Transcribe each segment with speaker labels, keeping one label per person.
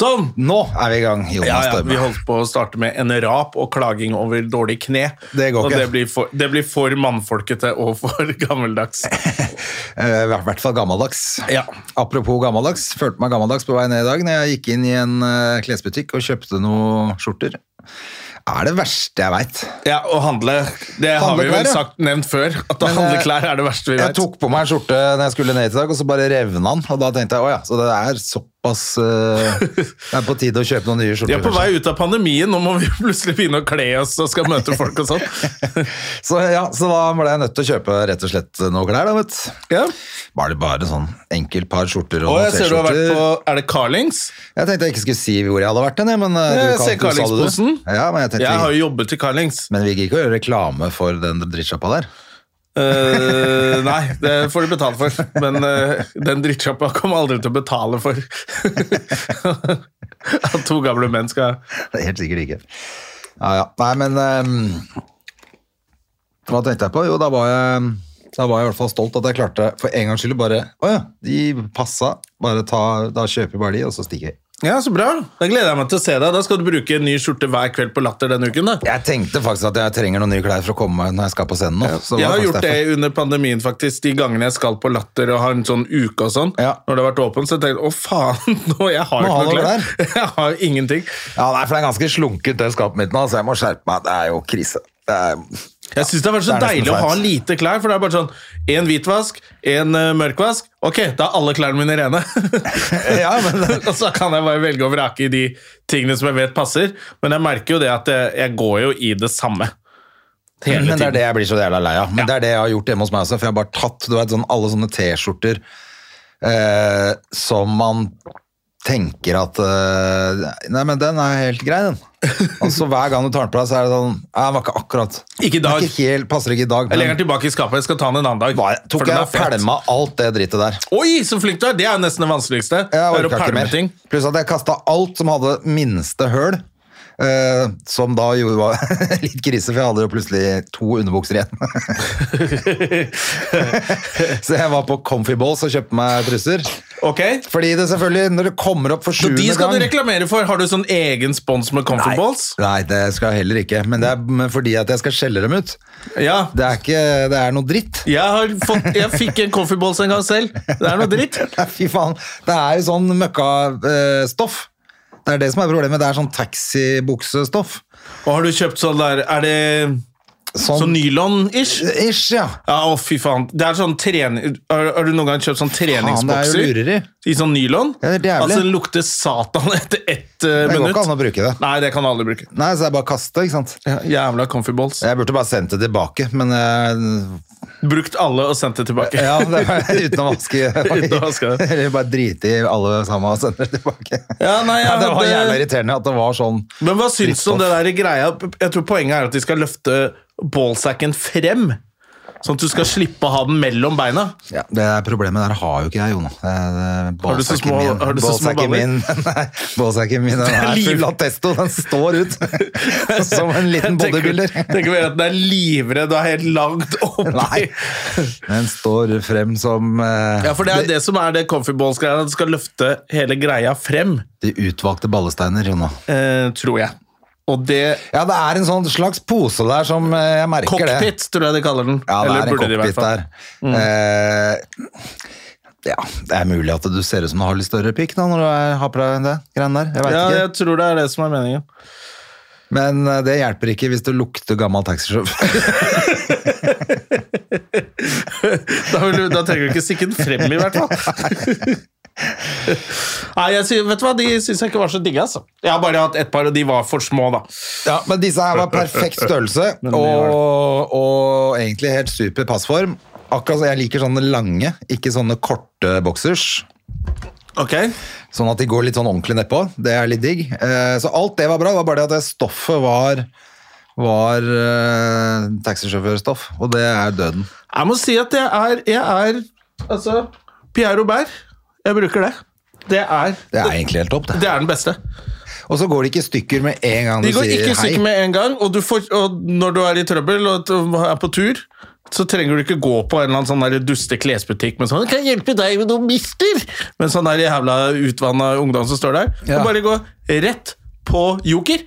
Speaker 1: Sånn!
Speaker 2: Nå er vi i gang, Jonas
Speaker 1: Ja, ja,
Speaker 2: Døme.
Speaker 1: vi holdt på å starte med en rap og klaging over dårlig kne.
Speaker 2: Det går
Speaker 1: og
Speaker 2: ikke.
Speaker 1: Det blir, for, det blir for mannfolkete og for gammeldags.
Speaker 2: Eh, I hvert fall gammeldags.
Speaker 1: Ja.
Speaker 2: Apropos gammeldags, følte meg gammeldags på vei ned i dag når jeg gikk inn i en eh, klesbutikk og kjøpte noen skjorter. Er det verste jeg veit.
Speaker 1: Ja, og handle. Det har vi
Speaker 2: Handleklær,
Speaker 1: vel
Speaker 2: ja.
Speaker 1: sagt, nevnt før, at å
Speaker 2: Men,
Speaker 1: handle
Speaker 2: eh,
Speaker 1: klær er det verste vi
Speaker 2: Jeg
Speaker 1: vet.
Speaker 2: tok på meg en skjorte når jeg skulle ned i dag, og så bare revna den. Og da tenkte jeg å ja, så det er såpass eh, Det er på tide å kjøpe noen nye skjorter.
Speaker 1: Vi er på vei ut av pandemien, nå må vi plutselig begynne å kle oss og skal møte folk og sånn.
Speaker 2: Så ja, så da ble jeg nødt til å kjøpe rett og slett noen klær, da, vet du.
Speaker 1: Ja.
Speaker 2: Var det bare sånn enkelt par skjorter og
Speaker 1: Og
Speaker 2: noen
Speaker 1: jeg ser du har vært
Speaker 2: T-skjorter?
Speaker 1: på Er det Carlings?
Speaker 2: Jeg tenkte jeg ikke skulle si hvor jeg hadde vært hen, jeg, men eh,
Speaker 1: Ja, jeg
Speaker 2: du
Speaker 1: ser
Speaker 2: kan- du sa det, du.
Speaker 1: Carlings-posen.
Speaker 2: Ja, men jeg tenkte
Speaker 1: Jeg har jo jobbet i Carlings.
Speaker 2: Men vi gikk ikke å gjøre reklame for den drittsjappa der.
Speaker 1: Eh, nei, det får du betale for. Men eh, den drittsjappa kommer aldri til å betale for at to gamle menn skal
Speaker 2: Det er helt sikkert ikke. Ja, ja. Nei, men ehm, Hva tenkte jeg på? Jo, da var jeg, da var jeg i hvert fall stolt at jeg klarte for en gangs skyld bare Å ja, de passa. Bare ta, da kjøper vi bare de, og så stikker vi.
Speaker 1: Ja, så bra. Da gleder jeg meg til å se deg. Da skal du bruke en ny skjorte hver kveld på Latter denne uken. da
Speaker 2: Jeg tenkte faktisk at jeg trenger noen nye klær for å komme meg når jeg skal på scenen nå. så det var
Speaker 1: Jeg har
Speaker 2: faktisk
Speaker 1: gjort det
Speaker 2: derfor.
Speaker 1: under pandemien, faktisk. De gangene jeg skal på Latter og har en sånn uke og sånn,
Speaker 2: Ja.
Speaker 1: når det har vært åpent, så har jeg tenkt å faen, nå jeg har
Speaker 2: Nå
Speaker 1: ikke
Speaker 2: har
Speaker 1: noe
Speaker 2: du
Speaker 1: klær. Jeg har ingenting.
Speaker 2: Ja, nei, for det er ganske slunkent, det skapet mitt nå, så jeg må skjerpe meg. Det er jo krise. Det er
Speaker 1: Jeg syns det har vært så
Speaker 2: det er nesten
Speaker 1: deilig å ha
Speaker 2: flaut.
Speaker 1: lite klær, for det er bare sånn én hvitvask, én mørkvask. eh, Ok, da er alle klærne mine rene.
Speaker 2: Ja, men-
Speaker 1: og så kan jeg bare velge og vrake i de tingene som jeg vet passer. Men jeg merker jo det at jeg, jeg går jo i det samme hele
Speaker 2: Men det er
Speaker 1: tiden.
Speaker 2: det jeg blir så jævla lei av. Men det er det jeg har gjort hjemme hos meg også, for jeg har bare tatt du vet, sånn, alle sånne T-skjorter eh, som man tenker at eh, Nei, men den er helt grei, den. Og så hver gang du tar den på deg, så er det sånn Nei, den var ikke akkurat
Speaker 1: Ikke i
Speaker 2: Den er
Speaker 1: dag.
Speaker 2: Ikke helt, passer ikke i dag.
Speaker 1: Jeg legger
Speaker 2: Men
Speaker 1: den tilbake i skapet. Jeg skal ta den en annen dag.
Speaker 2: bare,
Speaker 1: for
Speaker 2: tok
Speaker 1: den
Speaker 2: jeg
Speaker 1: er
Speaker 2: og
Speaker 1: fet.
Speaker 2: pælma alt det drittet der.
Speaker 1: Oi, så flink du er! Det er jo nesten det vanskeligste.
Speaker 2: Jeg
Speaker 1: det er å
Speaker 2: orka ikke
Speaker 1: pælme
Speaker 2: mer.
Speaker 1: ting.
Speaker 2: Pluss at jeg kasta alt som hadde minste høl. eh, som da jo var litt krise, for jeg hadde jo plutselig to underbukser igjen. så jeg var på Comfy Balls og kjøpte meg trusser.
Speaker 1: Ok?
Speaker 2: Fordi det selvfølgelig, når det kommer opp for
Speaker 1: Så
Speaker 2: sjuende
Speaker 1: de skal du
Speaker 2: gang
Speaker 1: reklamere for. Har du sånn egen spons med Comfort Balls?
Speaker 2: Nei, det skal jeg heller ikke. Men det er men fordi at jeg skal skjelle dem ut.
Speaker 1: Ja.
Speaker 2: Det er, ikke, det er noe dritt.
Speaker 1: Jeg, har fått, jeg fikk en Comfy Balls en gang selv. Det er noe dritt.
Speaker 2: Nei, Fy faen, det er jo sånn møkkastoff. det er det som er problemet. Det er sånn taxibuksestoff.
Speaker 1: Og har du kjøpt sånn der Er det sånn nylon-ish?
Speaker 2: Ish, ja.
Speaker 1: Ja, å fy faen. Det er sånn trening... Har, har du noen gang kjøpt sånn
Speaker 2: Faen, det er jo
Speaker 1: treningsbokser?
Speaker 2: lureri.
Speaker 1: I sånn nylon?
Speaker 2: Ja, det er jævlig.
Speaker 1: altså, det lukter satan etter ett eh,
Speaker 2: Det går
Speaker 1: minutt.
Speaker 2: ikke an å bruke det.
Speaker 1: Nei, det kan du aldri bruke.
Speaker 2: Nei, så det er bare å kaste, ikke sant?
Speaker 1: Ja, Jævla comfy balls.
Speaker 2: Jeg burde bare sendt det tilbake, men eh,
Speaker 1: Brukt alle og sendt det tilbake.
Speaker 2: ja, det var, uten å vaske.
Speaker 1: Uten å vaske det.
Speaker 2: Eller bare drite i alle sammen og sende det tilbake.
Speaker 1: Ja, nei,
Speaker 2: Ja,
Speaker 1: jeg
Speaker 2: det var
Speaker 1: hadde-
Speaker 2: jævla irriterende at det var sånn.
Speaker 1: Men hva syns du om det
Speaker 2: Drittstoff.
Speaker 1: der greia? Jeg tror poenget er at de skal løfte ballsacken frem. Sånn at du skal slippe å ha den mellom beina.
Speaker 2: Ja, det er problemet der har jo ikke jeg, Jona. Har
Speaker 1: du så små- har du så små baller?
Speaker 2: Min, nei, bålsekken min den
Speaker 1: er
Speaker 2: er
Speaker 1: liv.
Speaker 2: full av testo. Den står ut som en liten
Speaker 1: Tenker-
Speaker 2: bodybuilder.
Speaker 1: Tenker vi at den er livredd og er helt langt
Speaker 2: Nei,
Speaker 1: oppi.
Speaker 2: den står frem som eh,
Speaker 1: Ja, for det er det som er det comfy balls-greia. at Du skal løfte hele greia frem,
Speaker 2: de utvalgte ballesteiner, Jona.
Speaker 1: eh, tror jeg. Og det
Speaker 2: Ja, det er en sånn slags pose der som eh, jeg merker det.
Speaker 1: Cockpit, tror jeg de kaller den.
Speaker 2: Ja, det
Speaker 1: Eller
Speaker 2: er en
Speaker 1: burde de i hvert
Speaker 2: cockpit
Speaker 1: fall. Mm.
Speaker 2: der. Eh, ja, det er mulig at du ser ut som du har litt større pikk da, når du er, har på deg det greiene der. Jeg vet
Speaker 1: Ja,
Speaker 2: ikke.
Speaker 1: jeg tror det er det som er meningen.
Speaker 2: Men eh, det hjelper ikke hvis du lukter gammel taxisjåfør.
Speaker 1: Da, vil du, da trenger du ikke stikke den frem, i hvert fall. Nei, jeg, sy- vet du hva, De syns jeg ikke var så digge. altså. Jeg har bare hatt ett par, og de var for små. da.
Speaker 2: ja, men disse her var perfekt størrelse,
Speaker 1: Men det var det.
Speaker 2: og, og egentlig helt super passform. Akkurat så Jeg liker sånne lange, ikke sånne korte boksers.
Speaker 1: Ok.
Speaker 2: Sånn at de går litt sånn ordentlig nedpå. Det er litt digg. Eh, så alt det var bra. Det var bare det at det stoffet var, var eh, taxisjåførstoff, og det er døden.
Speaker 1: Jeg må si at jeg er, jeg er Altså, Pierre Robert. Jeg bruker det. Det er,
Speaker 2: Det er egentlig helt topp, det.
Speaker 1: det er den beste.
Speaker 2: Og så går de ikke i stykker med en gang
Speaker 1: De
Speaker 2: du
Speaker 1: går
Speaker 2: sier
Speaker 1: ikke i
Speaker 2: hei.
Speaker 1: stykker med en gang, og, du får, og når du er i trøbbel og t- er på tur, så trenger du ikke gå på en eller annen sånn der duste klesbutikk med sånn 'Kan jeg hjelpe deg med noe, mister?' Med sånn der jævla utvanna ungdom som står der.
Speaker 2: Ja.
Speaker 1: Og bare gå rett på Joker.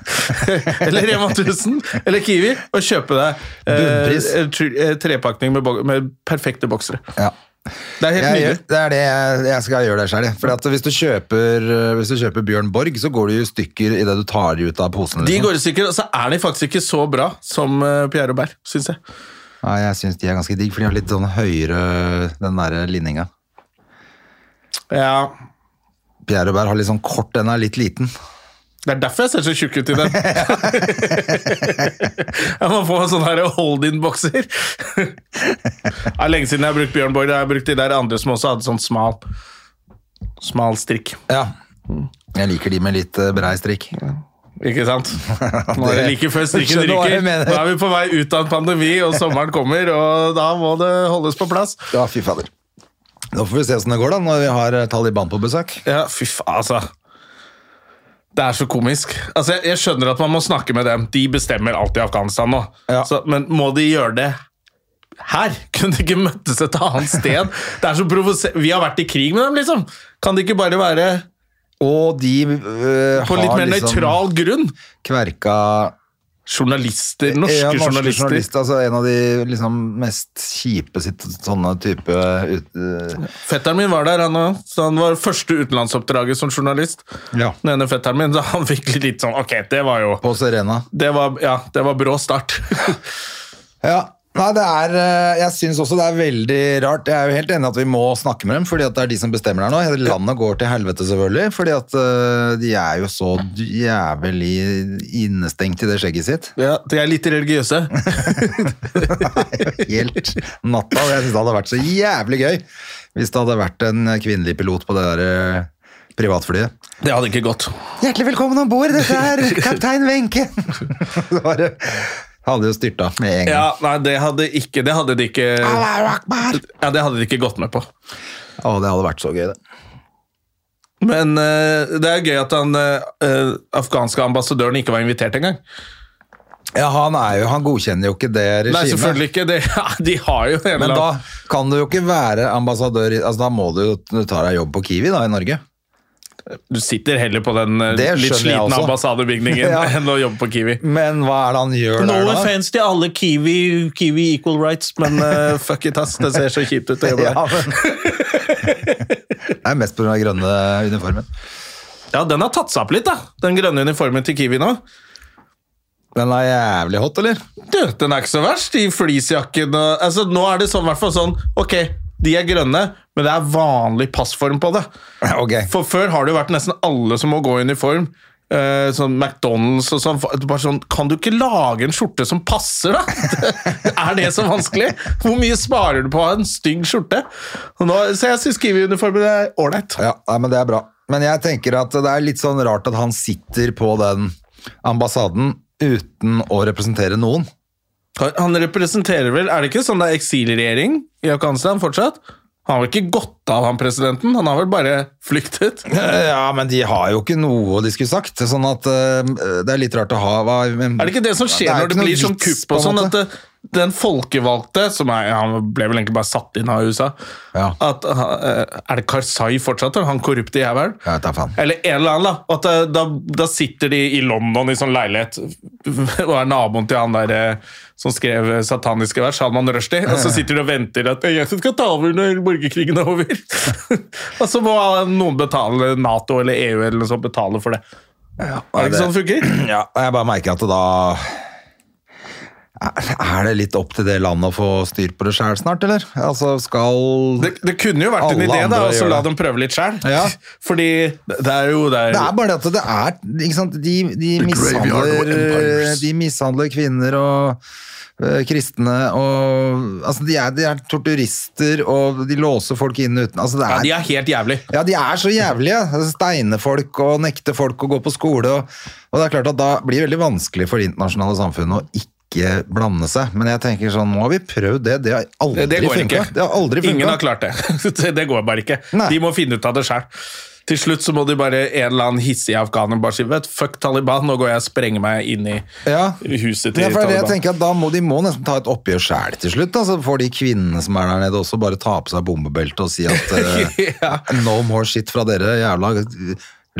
Speaker 1: eller Rema 1000 eller Kiwi og kjøpe deg eh,
Speaker 2: Bunnpris.
Speaker 1: en tr- eh, trepakning med, bo- med perfekte boksere.
Speaker 2: Ja.
Speaker 1: Det er helt
Speaker 2: Jeg, gjør-
Speaker 1: nydelig.
Speaker 2: det er det jeg, jeg skal gjøre det sjøl. Hvis, du kjøper- eh, hvis du kjøper Bjørn Borg, så går du i stykker idet du tar de ut av posen.
Speaker 1: De
Speaker 2: Liksom.
Speaker 1: går i stykker, og så er de faktisk ikke så bra som eh, Pierre Robert, syns jeg.
Speaker 2: Nei, jeg syns de er ganske digg, for de har litt sånn høyere den derre linninga.
Speaker 1: Ja,
Speaker 2: Pierre Robert har litt sånn kort, den er litt liten.
Speaker 1: Det er derfor jeg ser så tjukk ut i den. jeg må få en sånn her hold-in-bokser. Det er lenge siden jeg har brukt Bjørn Borg. Jeg har brukt de der andre som også hadde sånn smal, smal strikk.
Speaker 2: Ja. Jeg liker de med litt eh, brei strikk.
Speaker 1: Ikke sant? Nå er det like før strikken
Speaker 2: Skjønner hva jeg
Speaker 1: ryker.
Speaker 2: mener.
Speaker 1: Nå er vi på vei ut av en pandemi, og sommeren kommer, og da må det holdes på plass.
Speaker 2: Ja, fy fader. Nå får vi se åssen det går, da, når vi har eh, Taliban på besøk.
Speaker 1: Ja, fy faen, altså. Det er så komisk. Altså, jeg, jeg skjønner at man må snakke med dem. De bestemmer alt i Afghanistan nå.
Speaker 2: Ja.
Speaker 1: Så, men må de gjøre det her? Kunne de ikke møttes et annet sted? Det er så provoser- Vi har vært i krig med dem, liksom. Kan det ikke bare være
Speaker 2: Og de eh,
Speaker 1: på litt
Speaker 2: har
Speaker 1: mer nøytral grunn?
Speaker 2: kverka
Speaker 1: Journalister, norske,
Speaker 2: Ja,
Speaker 1: journalister.
Speaker 2: altså En av de liksom, mest kjipe sitt, sånne type ut, eh,
Speaker 1: Fetteren min var der, han, også. så han var første utenlandsoppdraget som journalist.
Speaker 2: Ja.
Speaker 1: Den ene fetteren min, så han fikk litt sånn Ok, det var jo
Speaker 2: på Serena.
Speaker 1: Det var, ja, det var brå start.
Speaker 2: Ja. Nei, det er, eh, jeg syns også det er veldig rart. Jeg er jo helt enig i at vi må snakke med dem, fordi at det er de som bestemmer her nå. Hele landet går til helvete, selvfølgelig. Fordi at eh, de er jo så jævlig innestengt i det skjegget sitt.
Speaker 1: Ja, de er litt religiøse.
Speaker 2: Helt natta. Og jeg syns det hadde vært så jævlig gøy hvis det hadde vært en kvinnelig pilot på det der eh, privatflyet.
Speaker 1: Det hadde ikke gått.
Speaker 2: Hjertelig velkommen om bord, dette er kaptein Wenche! Så bare hadde jo styrta med en gang.
Speaker 1: Ja, nei, det hadde ikke Det hadde de ikke Ja,
Speaker 2: Allahu Akbar!
Speaker 1: det hadde de ikke gått med på.
Speaker 2: Å, det hadde vært så gøy, det.
Speaker 1: Men eh, det er gøy at han eh, eh, afghanske ambassadøren ikke var invitert engang.
Speaker 2: Ja, han, er jo, han godkjenner jo ikke det regimet.
Speaker 1: Nei, selvfølgelig ikke. Det, de har jo en eller
Speaker 2: Men da
Speaker 1: annen
Speaker 2: kan du jo ikke være ambassadør i altså, Da må du jo du tar deg jobb på Kiwi da, i Norge.
Speaker 1: Du sitter heller på den eh,
Speaker 2: Det
Speaker 1: litt
Speaker 2: skjønner jeg
Speaker 1: slitne
Speaker 2: også.
Speaker 1: ambassadebygningen
Speaker 2: Ja.
Speaker 1: enn å jobbe på Kiwi.
Speaker 2: Men hva er det han gjør
Speaker 1: No
Speaker 2: der, da?
Speaker 1: offense til alle Kiwi, Kiwi equal rights, men eh, fuck it, ass. Det ser så kjipt ut. å jobbe
Speaker 2: Ja,
Speaker 1: der.
Speaker 2: men... Det er mest på den grønne uniformen.
Speaker 1: Ja, den har tatt seg opp litt, da. Den grønne uniformen til Kiwi nå.
Speaker 2: Den er jævlig hot, eller?
Speaker 1: Du, den er ikke så verst, de fleecejakkene altså, Nå er det sånn, i hvert fall sånn Ok, de er grønne, men det er vanlig passform på det.
Speaker 2: Ok.
Speaker 1: For før har det jo vært nesten alle som må gå i uniform. eh, sånn McDonald's og sånn. for- Bare sånn kan du ikke lage en skjorte som passer, da? er det så vanskelig? Hvor mye sparer du på å ha en stygg skjorte? Og nå, så jeg syns Kiwi-uniformen er ålreit.
Speaker 2: Ja, nei, men det er bra. Men jeg tenker at det er litt sånn rart at han sitter på den ambassaden uten å representere noen.
Speaker 1: Han representerer vel Er det ikke sånn det er eksilregjering i Afghanistan fortsatt? Han har vel ikke gått av, han presidenten? Han har vel bare flyktet?
Speaker 2: Ja, men de har jo ikke noe de skulle sagt, sånn at eh, det er litt rart å ha hva, men,
Speaker 1: Er det ikke det som skjer
Speaker 2: er
Speaker 1: når det
Speaker 2: ikke noe
Speaker 1: blir sånn
Speaker 2: vits,
Speaker 1: kupp og
Speaker 2: på en
Speaker 1: sånn?
Speaker 2: måte.
Speaker 1: At det, den folkevalgte, som er, han ble vel egentlig bare satt inn av USA
Speaker 2: Ja.
Speaker 1: at, eh, Er det Karzai fortsatt, eller han korrupte jævelen?
Speaker 2: Jeg vet da faen.
Speaker 1: Eller en eller annen, da. At eh, da, da sitter de i London i sånn leilighet og er naboen til han der eh, som skrev eh, sataniske vers, Salman Rushdie, og så sitter de og venter at 'Det er jeg som skal ta over når borgerkrigen er over'. og så må noen betale, Nato eller EU eller noe sånt, betale sånn for det. er det ikke sånn det funker?
Speaker 2: Ja, jeg bare merker at da Er det litt opp til det landet å få styr på det sjæl snart, eller? Altså, skal
Speaker 1: Det, det kunne jo vært
Speaker 2: Alle
Speaker 1: en idé da,
Speaker 2: andre
Speaker 1: og så
Speaker 2: gjør
Speaker 1: la
Speaker 2: det.
Speaker 1: dem prøve litt sjøl.
Speaker 2: Ja.
Speaker 1: Fordi det det er jo det er,
Speaker 2: Det er bare det at det er ikke sant? De, de,
Speaker 3: The graveyard of
Speaker 2: mishandler,
Speaker 3: empires.
Speaker 2: de mishandler kvinner og øh, kristne og altså de, er, de er torturister, og de låser folk inne uten altså det
Speaker 1: ja,
Speaker 2: er,
Speaker 1: De er helt jævlig.
Speaker 2: ja, de er så jævlige. Steine folk og nekte folk å gå på skole. Og, og det er klart at Da blir det veldig vanskelig for det internasjonale samfunnet å ikke blande seg. Men jeg tenker sånn, nå har vi prøvd det. Det har aldri
Speaker 1: Det, det går
Speaker 2: funka.
Speaker 1: ikke.
Speaker 2: Det har aldri
Speaker 1: Ingen har
Speaker 2: funket.
Speaker 1: klart det. det. Det går bare ikke.
Speaker 2: Nei.
Speaker 1: De må finne ut av det sjøl. Til slutt så må de bare en eller annen hissig afghaner bare si vet, fuck Taliban, nå går jeg og sprenger meg inn i
Speaker 2: Ja.
Speaker 1: huset til
Speaker 2: Ja, for det er det jeg
Speaker 1: Taliban.
Speaker 2: tenker at Da må de må nesten ta et oppgjør sjæl til slutt. Da. Så får de kvinnene som er der nede også bare ta på seg bombebeltet og si at eh,
Speaker 1: Ja.
Speaker 2: no more shit fra dere, jævla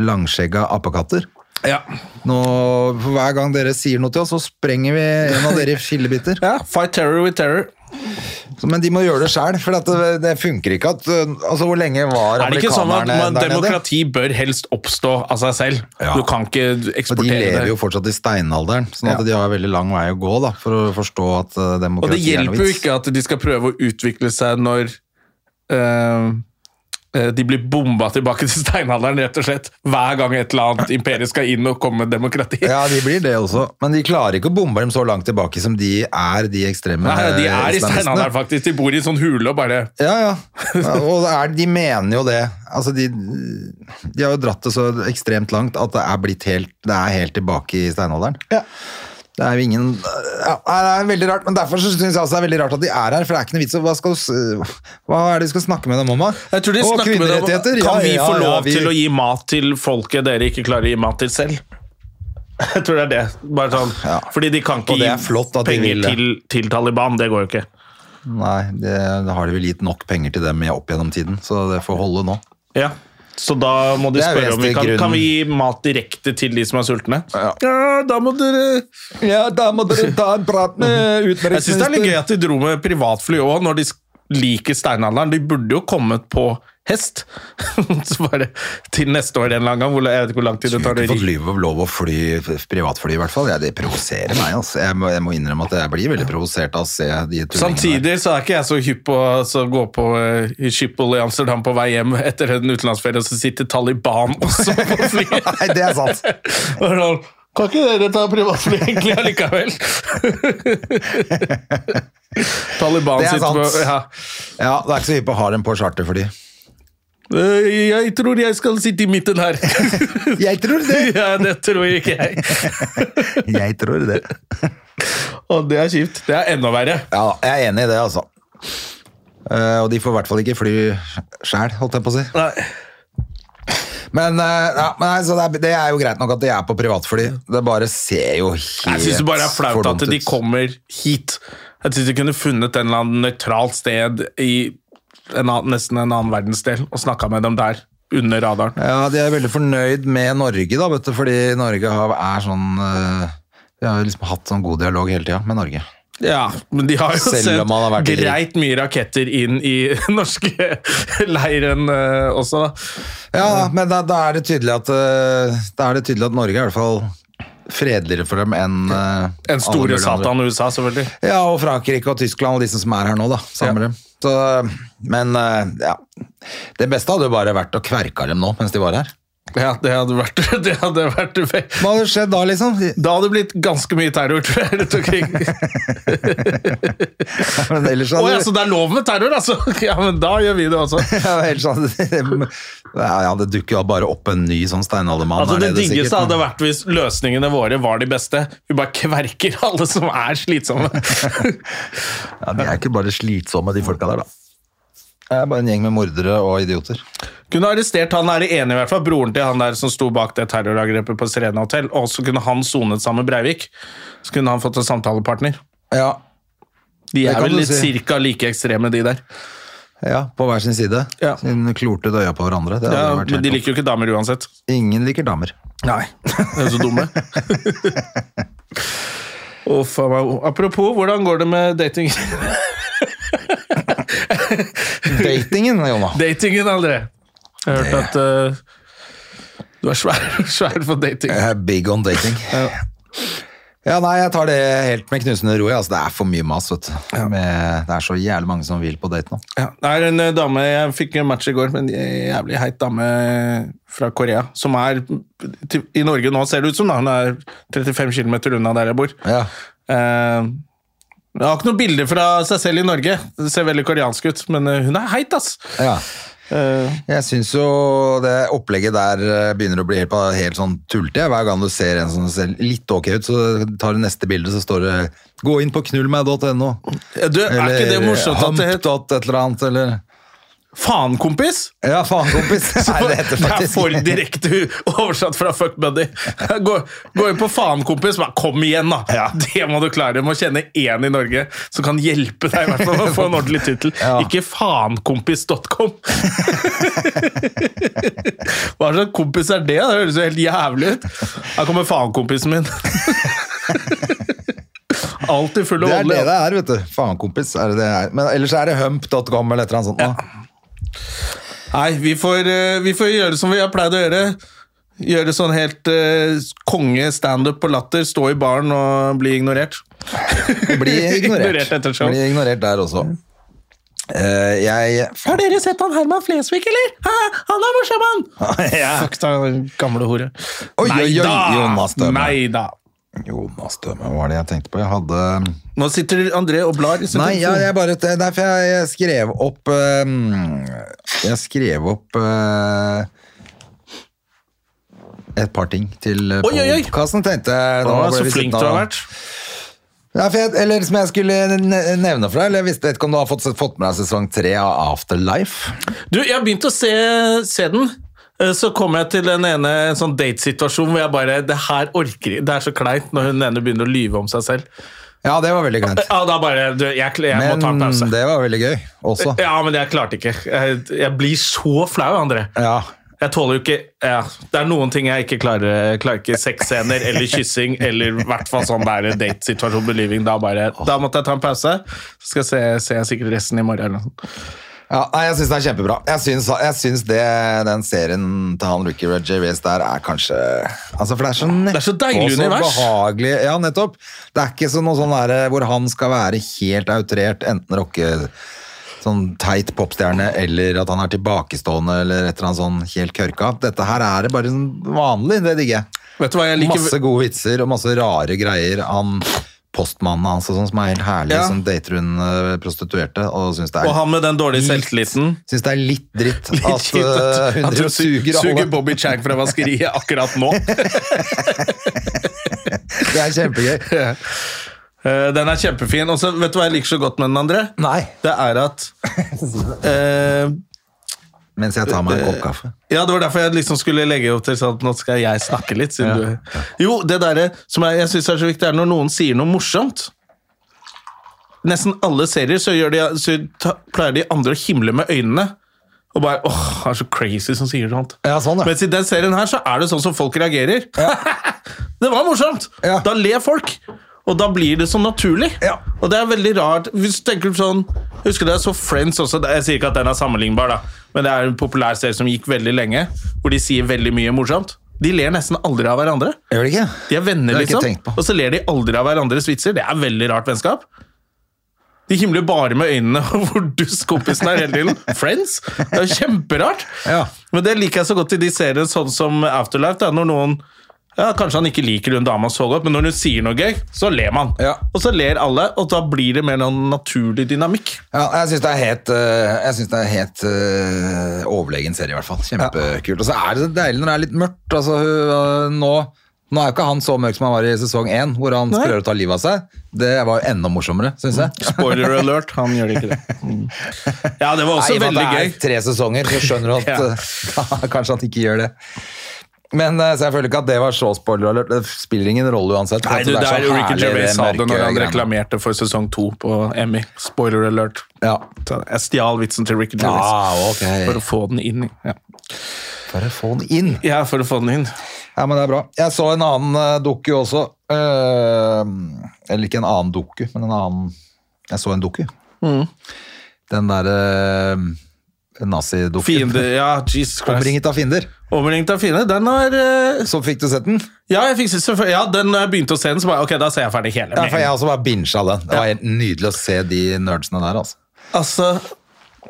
Speaker 2: langskjegga apekatter.
Speaker 1: Ja.
Speaker 2: Nå, for Hver gang dere sier noe til oss, så sprenger vi en av dere i fillebiter.
Speaker 1: ja. Fight terror with terror.
Speaker 2: Så- Men de må gjøre det sjæl, for at det, det funker ikke at eh, Altså, hvor lenge var
Speaker 1: Er det ikke sånn at
Speaker 2: amerikanerne
Speaker 1: man,
Speaker 2: der nede?
Speaker 1: demokrati bør helst oppstå av seg selv?
Speaker 2: Ja.
Speaker 1: Du kan ikke
Speaker 2: Og de
Speaker 1: eksportere
Speaker 2: lever
Speaker 1: det.
Speaker 2: jo fortsatt i steinalderen, sånn at
Speaker 1: Ja.
Speaker 2: de har veldig lang vei å gå da, for å forstå at eh,
Speaker 1: Og det
Speaker 2: demokrati er noe
Speaker 1: hjelper jo
Speaker 2: vits.
Speaker 1: ikke at de skal prøve å utvikle seg når eh, eh, de blir bomba tilbake til steinalderen, rett og slett. Hver gang et eller annet imperie skal inn og komme med demokrati.
Speaker 2: Ja, de blir det også. Men de klarer ikke å bombe dem så langt tilbake som de er, de ekstreme
Speaker 1: Nei, de
Speaker 2: eh,
Speaker 1: er i
Speaker 2: islamistene.
Speaker 1: steinalderen, faktisk. De bor i en sånn hule og bare
Speaker 2: Ja, ja. Ja, Og det er, de mener jo det. Altså, de, de har jo dratt det så ekstremt langt at det er blitt helt, det er helt tilbake i steinalderen. Det er jo ingen ja, nei, Det er veldig rart, men derfor syns jeg også det er veldig rart at de er her. For det er ikke noe vits i hva, skal, s- hva er det vi skal snakke med dem om, da?
Speaker 1: jeg tror de
Speaker 2: Å,
Speaker 1: snakker med dem.
Speaker 2: kvinnerettigheter?
Speaker 1: Kan
Speaker 2: Ja,
Speaker 1: vi
Speaker 2: ja,
Speaker 1: få lov
Speaker 2: ja, vi-
Speaker 1: til å gi mat til folket dere ikke klarer å gi mat til selv? Jeg tror det er det. Bare sånn.
Speaker 2: Ja.
Speaker 1: Fordi de kan ikke
Speaker 2: Og det er flott
Speaker 1: gi
Speaker 2: at de vil
Speaker 1: penger
Speaker 2: det.
Speaker 1: til, til Taliban. Det går jo ikke.
Speaker 2: Nei, det, da har de vel gitt nok penger til dem i- opp gjennom tiden, så det får holde nå.
Speaker 1: Ja, så da må de
Speaker 2: Det er
Speaker 1: spørre om vi kan,
Speaker 2: vesentlig
Speaker 1: kan vi gi mat direkte til de som er sultne.
Speaker 2: Ja.
Speaker 1: da må dere
Speaker 2: Ja, da må dere ta en prat med utenriksministeren.
Speaker 1: Jeg syns det er litt gøy at de dro med privatfly òg, når de liker steinalderen. De burde jo kommet på hest. så bare til neste år en eller annen gang. hvor- Jeg vet ikke hvor lang tid det tar.
Speaker 2: Skulle
Speaker 1: Det
Speaker 2: ikke fått lov, lov å fly privatfly, i hvert fall. Ja, det provoserer meg. Altså. Jeg, må, jeg må innrømme at jeg blir veldig provosert av å se de tullingene. der.
Speaker 1: Samtidig så er ikke jeg så hypp på å gå på eh, i Schiphol i Amsterdam på vei hjem etter en utenlandsferie, og så sitter Taliban også på flyet.
Speaker 2: Nei, det er sant.
Speaker 1: Og sånn, Kan ikke dere ta privatfly egentlig allikevel? Taliban
Speaker 2: Det er
Speaker 1: sitter på
Speaker 2: sant.
Speaker 1: ja.
Speaker 2: Ja, det er ikke så hypp å ha dem på charterfly.
Speaker 1: «Øh, Jeg tror jeg skal sitte i midten her.
Speaker 2: Jeg tror det!
Speaker 1: ja, det tror ikke jeg.
Speaker 2: Jeg tror det.
Speaker 1: Og det er kjipt. Det er enda verre.
Speaker 2: Ja, jeg er enig i det, altså. Eh, og de får i hvert fall ikke fly sjæl, holdt jeg på å si.
Speaker 1: Nei.
Speaker 2: Men, eh, ja, men nei, så det, er, det er jo greit nok at de er på privatfly. Det bare ser jo helt
Speaker 1: Jeg syns det bare er flaut
Speaker 2: fordumt
Speaker 1: at de
Speaker 2: ut.
Speaker 1: kommer hit. Jeg syns de kunne funnet en eller annen nøytralt sted i en annen, nesten en annen verdensdel og snakka med dem der, under radaren.
Speaker 2: Ja, de er veldig fornøyd med Norge, da, vet du, fordi Norge har, er sånn eh, Vi har jo liksom hatt sånn god dialog hele tida med Norge.
Speaker 1: Ja, men de har jo
Speaker 2: Selv om
Speaker 1: sendt
Speaker 2: han har vært i krig.
Speaker 1: greit mye raketter inn i norske leiren eh, også. da.
Speaker 2: Ja, men da, da, er det tydelig at, eh, da er det tydelig at Norge er i hvert fall fredeligere for dem enn eh,
Speaker 1: En
Speaker 2: alle
Speaker 1: store
Speaker 2: mulige andre.
Speaker 1: satan USA, selvfølgelig.
Speaker 2: Ja, og Frankrike og Tyskland og de som som er her nå, da. Sammen med dem. Så, men eh, ja Det beste hadde jo bare vært å kverka dem nå mens de var her.
Speaker 1: Ja, det hadde vært, det hadde vært
Speaker 2: Hva hadde skjedd da, liksom? De-
Speaker 1: Da hadde det blitt ganske mye terror, tror jeg. rundt omkring.
Speaker 2: Men ellers
Speaker 1: Å
Speaker 2: hadde
Speaker 1: ja, så det er lov med terror, altså! Ja, men da gjør vi det også.
Speaker 2: Ja, ellers hadde- ja, det dukker jo bare opp en ny sånn steinaldermann.
Speaker 1: Altså
Speaker 2: her
Speaker 1: Det
Speaker 2: nede, sikkert.
Speaker 1: diggeste hadde vært hvis løsningene våre var de beste. Vi bare kverker alle som er slitsomme.
Speaker 2: Ja, De er ikke bare slitsomme, de folka der, da. Det er bare en gjeng med mordere og idioter.
Speaker 1: Kunne arrestert han der ene, i hvert fall broren til han der som sto bak det terrorangrepet på Serena Hotel. Og så kunne han sonet sammen med Breivik. Så kunne han fått en samtalepartner.
Speaker 2: Ja,
Speaker 1: De
Speaker 2: Det
Speaker 1: er
Speaker 2: kan
Speaker 1: vel
Speaker 2: du
Speaker 1: litt
Speaker 2: si.
Speaker 1: cirka like ekstreme, de der.
Speaker 2: ja På hver sin side.
Speaker 1: Ja.
Speaker 2: Siden klorte øya på hverandre. Det hadde
Speaker 1: Ja,
Speaker 2: vært
Speaker 1: men de
Speaker 2: helt
Speaker 1: liker jo ikke damer uansett.
Speaker 2: topp. Ingen liker damer.
Speaker 1: Nei. De er så dumme. Å, faen meg. Apropos, hvordan går det med dating?
Speaker 2: Datingen, Jonna.
Speaker 1: datingen, André? Jeg har hørt at eh, du er svær, svær for dating.
Speaker 2: Jeg er big on dating. Ja, nei, jeg tar det helt med knusende ro. jeg. Altså, det er for mye mas, vet du. Med, det er så jævlig mange som vil på date nå.
Speaker 1: Ja, det er en eh, dame Jeg fikk en match i går med en jævlig heit dame fra Korea. Som er til- i Norge nå, ser det ut som. da Hun er 35 km unna der jeg bor.
Speaker 2: Ja.
Speaker 1: Eh, hun har ikke noe bilde fra seg selv i Norge. Det ser veldig koreansk ut, men eh, hun er heit, ass.
Speaker 2: Ja.
Speaker 1: Eh,
Speaker 2: Jeg syns jo det opplegget der eh, begynner å bli helt, på- helt sånn tullete. jeg. Hver gang du ser en som ser litt ok ut, så tar du neste bilde, så står det 'gå inn på knullmeg.no'.
Speaker 1: du, er ikke det morsomt at det heter
Speaker 2: hump.et eller annet, eller
Speaker 1: Faen, kompis!
Speaker 2: Ja, faen, kompis! Nei, det heter
Speaker 1: er
Speaker 2: faktisk
Speaker 1: Altså, for direkte oversatt fra fuck buddy. Gå, gå inn på faen, kompis. Bare kom igjen, da! Det må du klare. Du må kjenne én i Norge som kan hjelpe deg i hvert fall å få en ordentlig tittel.
Speaker 2: Ja.
Speaker 1: Ikke faenkompis.com. Hva slags kompis er det? Det høres jo helt jævlig ut. Her kommer faenkompisen min. Alltid full
Speaker 2: Det
Speaker 1: av
Speaker 2: er det
Speaker 1: voldelig.
Speaker 2: det er, vet du. Faen, kompis. Er det det er. Men ellers er det hump.com eller et eller annet sånt. nå.
Speaker 1: Nei, vi får, eh, vi får gjøre som vi har pleid å gjøre. Gjøre sånn helt eh, konge standup på latter, stå i baren og bli ignorert.
Speaker 2: Bli ignorert.
Speaker 1: Ignorert etter show.
Speaker 2: Bli ignorert der også. Eh, jeg
Speaker 1: Har dere sett han Herman Flesvig, eller? han er morsom, han! Fuck da, gamle hore.
Speaker 2: Oi,
Speaker 1: Nei
Speaker 2: oi, oi,
Speaker 1: da!
Speaker 2: Jonas Døme.
Speaker 1: Nei da.
Speaker 2: Jonas Døme, hva var det jeg tenkte på? Jeg hadde
Speaker 1: Nå sitter André og blar. i sin
Speaker 2: Nei, jeg,
Speaker 1: telefon.
Speaker 2: jeg bare det er for jeg, jeg skrev opp eh, Jeg skrev opp eh, et par ting til eh,
Speaker 1: Oi, oi, oi.
Speaker 2: podcasten, tenkte jeg.
Speaker 1: Å,
Speaker 2: Da ble
Speaker 1: så
Speaker 2: vi
Speaker 1: flink
Speaker 2: sittende
Speaker 1: du har
Speaker 2: og-
Speaker 1: vært.
Speaker 2: Nei, for jeg, eller som jeg skulle ne- nevne for deg, eller jeg visste vet ikke om du har fått, fått med deg sesong tre av Afterlife.
Speaker 1: Du, jeg har begynt å se, se den. Eh, Så kom jeg til den ene en sånn datesituasjon hvor jeg bare Det her orker jeg- Det er så kleint når hun ene begynner å lyve om seg selv.
Speaker 2: Ja, det var veldig kleint.
Speaker 1: Ja, da bare du, Jeg, jeg må ta en pause.
Speaker 2: Men det var veldig gøy også.
Speaker 1: Ja, men jeg klarte ikke. Jeg, jeg blir så flau, André.
Speaker 2: Ja.
Speaker 1: Jeg tåler jo ikke ja, Det er noen ting jeg ikke klarer. Jeg klarer ikke sexscener eller kyssing eller i hvert fall sånn der datesituasjon believing. Da, bare, da måtte jeg ta en pause. Så skal jeg se, ser jeg sikkert resten i morgen. eller noe sånt.
Speaker 2: Ja, nei, jeg syns det er kjempebra. Jeg syns, jeg syns det, den serien til han Ricky Rajavis der er kanskje altså For det er så
Speaker 1: Det er så deilig
Speaker 2: og så
Speaker 1: univers.
Speaker 2: behagelig. Ja, nettopp. Det er ikke sånn noe sånn der, hvor han skal være helt outrert, enten rocke sånn teit popstjerne eller at han er tilbakestående eller et eller annet sånn helt kørka. Dette her er det bare sånn vanlig, det digger jeg.
Speaker 1: Vet du hva jeg liker?
Speaker 2: Masse gode vitser og masse rare greier. Han postmannen hans og sånn, som er helt herlig,
Speaker 1: Ja.
Speaker 2: som dater hun eh, prostituerte og syns det er
Speaker 1: Og han med den dårlige selvtilliten.
Speaker 2: Syns det er litt dritt
Speaker 1: Litt
Speaker 2: at
Speaker 1: kjipt
Speaker 2: eh,
Speaker 1: at-
Speaker 2: hun
Speaker 1: at
Speaker 2: driver
Speaker 1: hun
Speaker 2: og suger
Speaker 1: suger
Speaker 2: alle.
Speaker 1: Bobby Chang fra vaskeriet akkurat nå.
Speaker 2: Det er kjempegøy.
Speaker 1: Eh, Den er kjempefin. Og så vet du hva jeg liker så godt med den, André?
Speaker 2: Nei.
Speaker 1: Det er at eh,
Speaker 2: Mens jeg tar meg en kopp kaffe.
Speaker 1: Ja, det var derfor jeg liksom skulle legge opp til sånn at nå skal jeg snakke litt. Siden du... Jo, det derre som jeg, jeg syns er så viktig, er når noen sier noe morsomt. Nesten alle serier så, gjør de, så ta, pleier de andre å himle med øynene. Og bare åh, han er så crazy som sier sånt.
Speaker 2: Ja, sånn, ja.
Speaker 1: Mens i den serien her så er det sånn som folk reagerer. det var morsomt!
Speaker 2: Ja.
Speaker 1: Da ler folk. Og da blir det så naturlig.
Speaker 2: Ja.
Speaker 1: Og det er veldig rart. Hvis du tenker sånn jeg Husker du jeg så Friends også? Jeg sier ikke at den er sammenlignbar, da. Men det er en populær serie som gikk veldig lenge, hvor de sier veldig mye morsomt. De ler nesten aldri av hverandre.
Speaker 2: Gjør det ikke?
Speaker 1: De er venner,
Speaker 2: Det har jeg ikke
Speaker 1: liksom.
Speaker 2: tenkt på.
Speaker 1: Og så ler de aldri av hverandres vitser. Det er veldig rart vennskap. De himler bare med øynene og hvor dust kompisen er hele tiden. Friends? Det er jo kjemperart.
Speaker 2: Ja.
Speaker 1: Men det liker jeg så godt i de seriene sånn som Afterlife. Da, når noen ja, Kanskje han ikke liker hun dama så godt, men når hun sier noe gøy, så ler man.
Speaker 2: Ja.
Speaker 1: Og så ler alle, og da blir det mer noen naturlig dynamikk.
Speaker 2: Ja, jeg syns det er helt, eh, jeg synes det er helt eh, overlegen serie, i hvert fall. Kjempekult. Og så er det så deilig når det er litt mørkt. Altså, hun, eh, nå, nå er jo ikke han så mørk som han var i sesong én, hvor han
Speaker 1: Nei.
Speaker 2: prøver å ta livet av seg. Det var jo enda morsommere, syns jeg.
Speaker 1: Spoiler alert, han gjør ikke det. Mm. Ja, det var
Speaker 2: Nei, i og
Speaker 1: også
Speaker 2: med
Speaker 1: veldig
Speaker 2: at det
Speaker 1: gøy.
Speaker 2: er tre sesonger, så skjønner du at
Speaker 1: Ja.
Speaker 2: eh, da kanskje han ikke gjør det. Men eh, så jeg føler ikke at det var så spoiler alert. Det spiller ingen rolle uansett.
Speaker 1: Nei,
Speaker 2: Altså,
Speaker 1: du, det er
Speaker 2: så
Speaker 1: jo Ricky
Speaker 2: herlig,
Speaker 1: Gervais
Speaker 2: det
Speaker 1: sa det
Speaker 2: mørke
Speaker 1: når han
Speaker 2: greiene.
Speaker 1: reklamerte for sesong to på Emmy. Spoiler alert.
Speaker 2: Ja.
Speaker 1: Så Jeg stjal vitsen til Ricky Gervais
Speaker 2: Ah, ok.
Speaker 1: for å få den inn. Ja.
Speaker 2: Bare få den inn.
Speaker 1: ja, for å få den inn.
Speaker 2: Ja, men det er bra. Jeg så en annen eh, doku også. eh, eller ikke en annen doku,
Speaker 1: Mm.
Speaker 2: men en annen Jeg så en doku. Den derre eh, nazidukken.
Speaker 1: Fiende, ja, Jesus Christ.
Speaker 2: Omringet av fiender.
Speaker 1: Omringet av fiende. Den har eh,
Speaker 2: Så fikk du sett den?
Speaker 1: Ja, jeg fikk, selvfølgelig- ja, den når jeg begynte å se den, så bare Ok, da ser jeg ferdig hele.
Speaker 2: Ja,
Speaker 1: med
Speaker 2: for
Speaker 1: en
Speaker 2: jeg
Speaker 1: gang.
Speaker 2: også bare bincha den. Det var helt nydelig å se de nerdsene der, altså.
Speaker 1: Altså,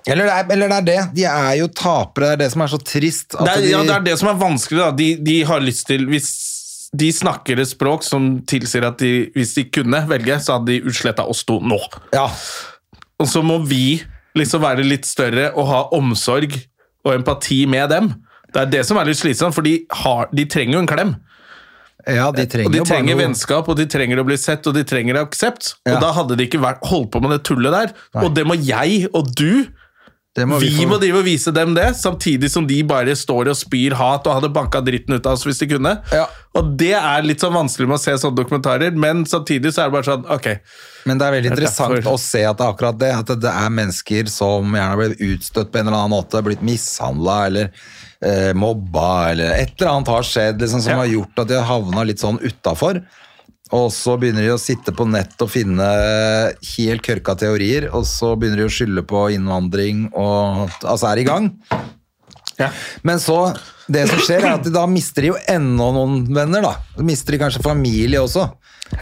Speaker 2: Eller det, er, eller det er det. De er jo tapere. Det er det som er så trist. At
Speaker 1: det er,
Speaker 2: Altså, de,
Speaker 1: ja, det er det som er vanskelig, da. De, de har lyst til Hvis de snakker et språk som tilsier at de, hvis de kunne velge, så hadde de utsletta oss to nå.
Speaker 2: Ja.
Speaker 1: Og så må vi liksom være litt større og ha omsorg og empati med dem. Det er det som er litt slitsomt, for de, har, de trenger jo en klem.
Speaker 2: ja, de trenger,
Speaker 1: Og de
Speaker 2: jo bare
Speaker 1: trenger
Speaker 2: noe-
Speaker 1: vennskap, og de trenger å bli sett, og de trenger aksept.
Speaker 2: Ja.
Speaker 1: Og da hadde de ikke vært, holdt på med det tullet der.
Speaker 2: Nei.
Speaker 1: Og det må jeg og du
Speaker 2: Det må
Speaker 1: vi,
Speaker 2: vi, få-
Speaker 1: må drive og vise dem det, samtidig som de bare står og spyr hat og hadde banka dritten ut av oss hvis de kunne.
Speaker 2: Ja.
Speaker 1: Og det er litt sånn vanskelig med å se sånne dokumentarer, men samtidig så er det bare sånn Ok,
Speaker 2: Men det er veldig
Speaker 1: Det er
Speaker 2: interessant
Speaker 1: derfor.
Speaker 2: å se at det er akkurat det. At det er mennesker som gjerne har blitt utstøtt på en eller annen måte, blitt mishandla eller eh, mobba eller et eller annet har skjedd liksom, som
Speaker 1: Ja.
Speaker 2: har gjort at de har havna litt sånn utafor. Og så begynner de å sitte på nett og finne eh, helt kørka teorier, og så begynner de å skylde på innvandring og Altså er i gang.
Speaker 1: Ja.
Speaker 2: Men så Det som skjer, er at de da mister de jo ennå noen venner, da. Da mister de kanskje familie også.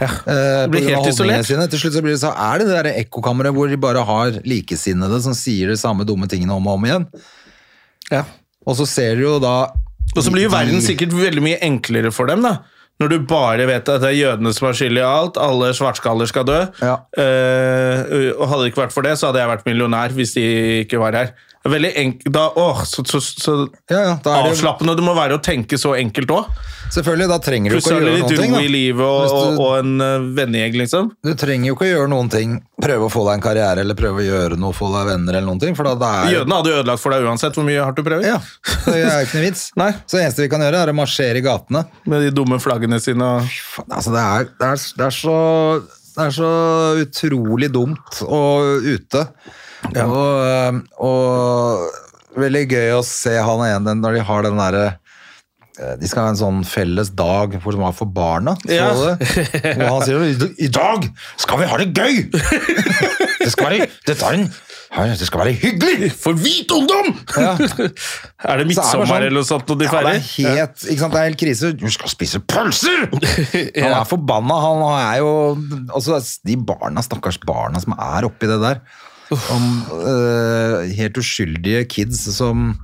Speaker 2: Eh,
Speaker 1: Det blir
Speaker 2: på grunn av
Speaker 1: helt
Speaker 2: holdningene
Speaker 1: isolert.
Speaker 2: Sine. Til slutt så blir det så er det det der ekkokammeret hvor de bare har likesinnede som sier de samme dumme tingene om og om igjen. Og så ser du jo da
Speaker 1: Og så blir jo
Speaker 2: de-
Speaker 1: verden sikkert veldig mye enklere for dem, da. Når du bare vet at det er jødene som er skyld i alt, alle svartskaller skal dø.
Speaker 2: Ja.
Speaker 1: Eh, og hadde det ikke vært for det, så hadde jeg vært millionær hvis de ikke var her. Det er Veldig enk da, åh, så, så, så
Speaker 2: ja, ja, da er det,
Speaker 1: avslappende det må være å tenke så enkelt òg.
Speaker 2: Selvfølgelig, da trenger du ikke å
Speaker 1: Plutselig
Speaker 2: gjøre
Speaker 1: litt
Speaker 2: noen ting.
Speaker 1: ro
Speaker 2: da.
Speaker 1: i livet og,
Speaker 2: Hvis
Speaker 1: og,
Speaker 2: du-
Speaker 1: og en eh, vennegjeng, liksom.
Speaker 2: Du trenger jo ikke å gjøre noen ting. Prøve å få deg en karriere eller prøve å gjøre noe, få deg venner eller noen ting. For da, da er
Speaker 1: Jødene hadde jo ødelagt for deg uansett hvor mye hardt du prøver.
Speaker 2: Ja, det er jo ikke noe vits.
Speaker 1: Nei.
Speaker 2: Så det eneste vi kan gjøre, er å marsjere i gatene.
Speaker 1: Med de dumme flaggene sine og
Speaker 2: Faen, altså det er, det er, det er så det er så utrolig dumt og ute. Og, eh, og veldig gøy å se han ene den- når de har den derre eh, de skal ha en sånn felles dag for, som var for barna. Så
Speaker 1: Ja.
Speaker 2: du det? Og han sier jo I dag skal vi ha det gøy! Det skal være, det tar en, det skal være hyggelig!
Speaker 1: For hvit ungdom!
Speaker 2: Ja.
Speaker 1: er det midtsommer
Speaker 2: sånn-
Speaker 1: eller noe sånt når de
Speaker 2: Ja, det
Speaker 1: feirer?
Speaker 2: er helt, ikke sant, det er helt krise. Du skal spise pølser! Han er forbanna, han er jo altså, De barna, stakkars barna som er oppi det der. Om eh, helt uskyldige kids som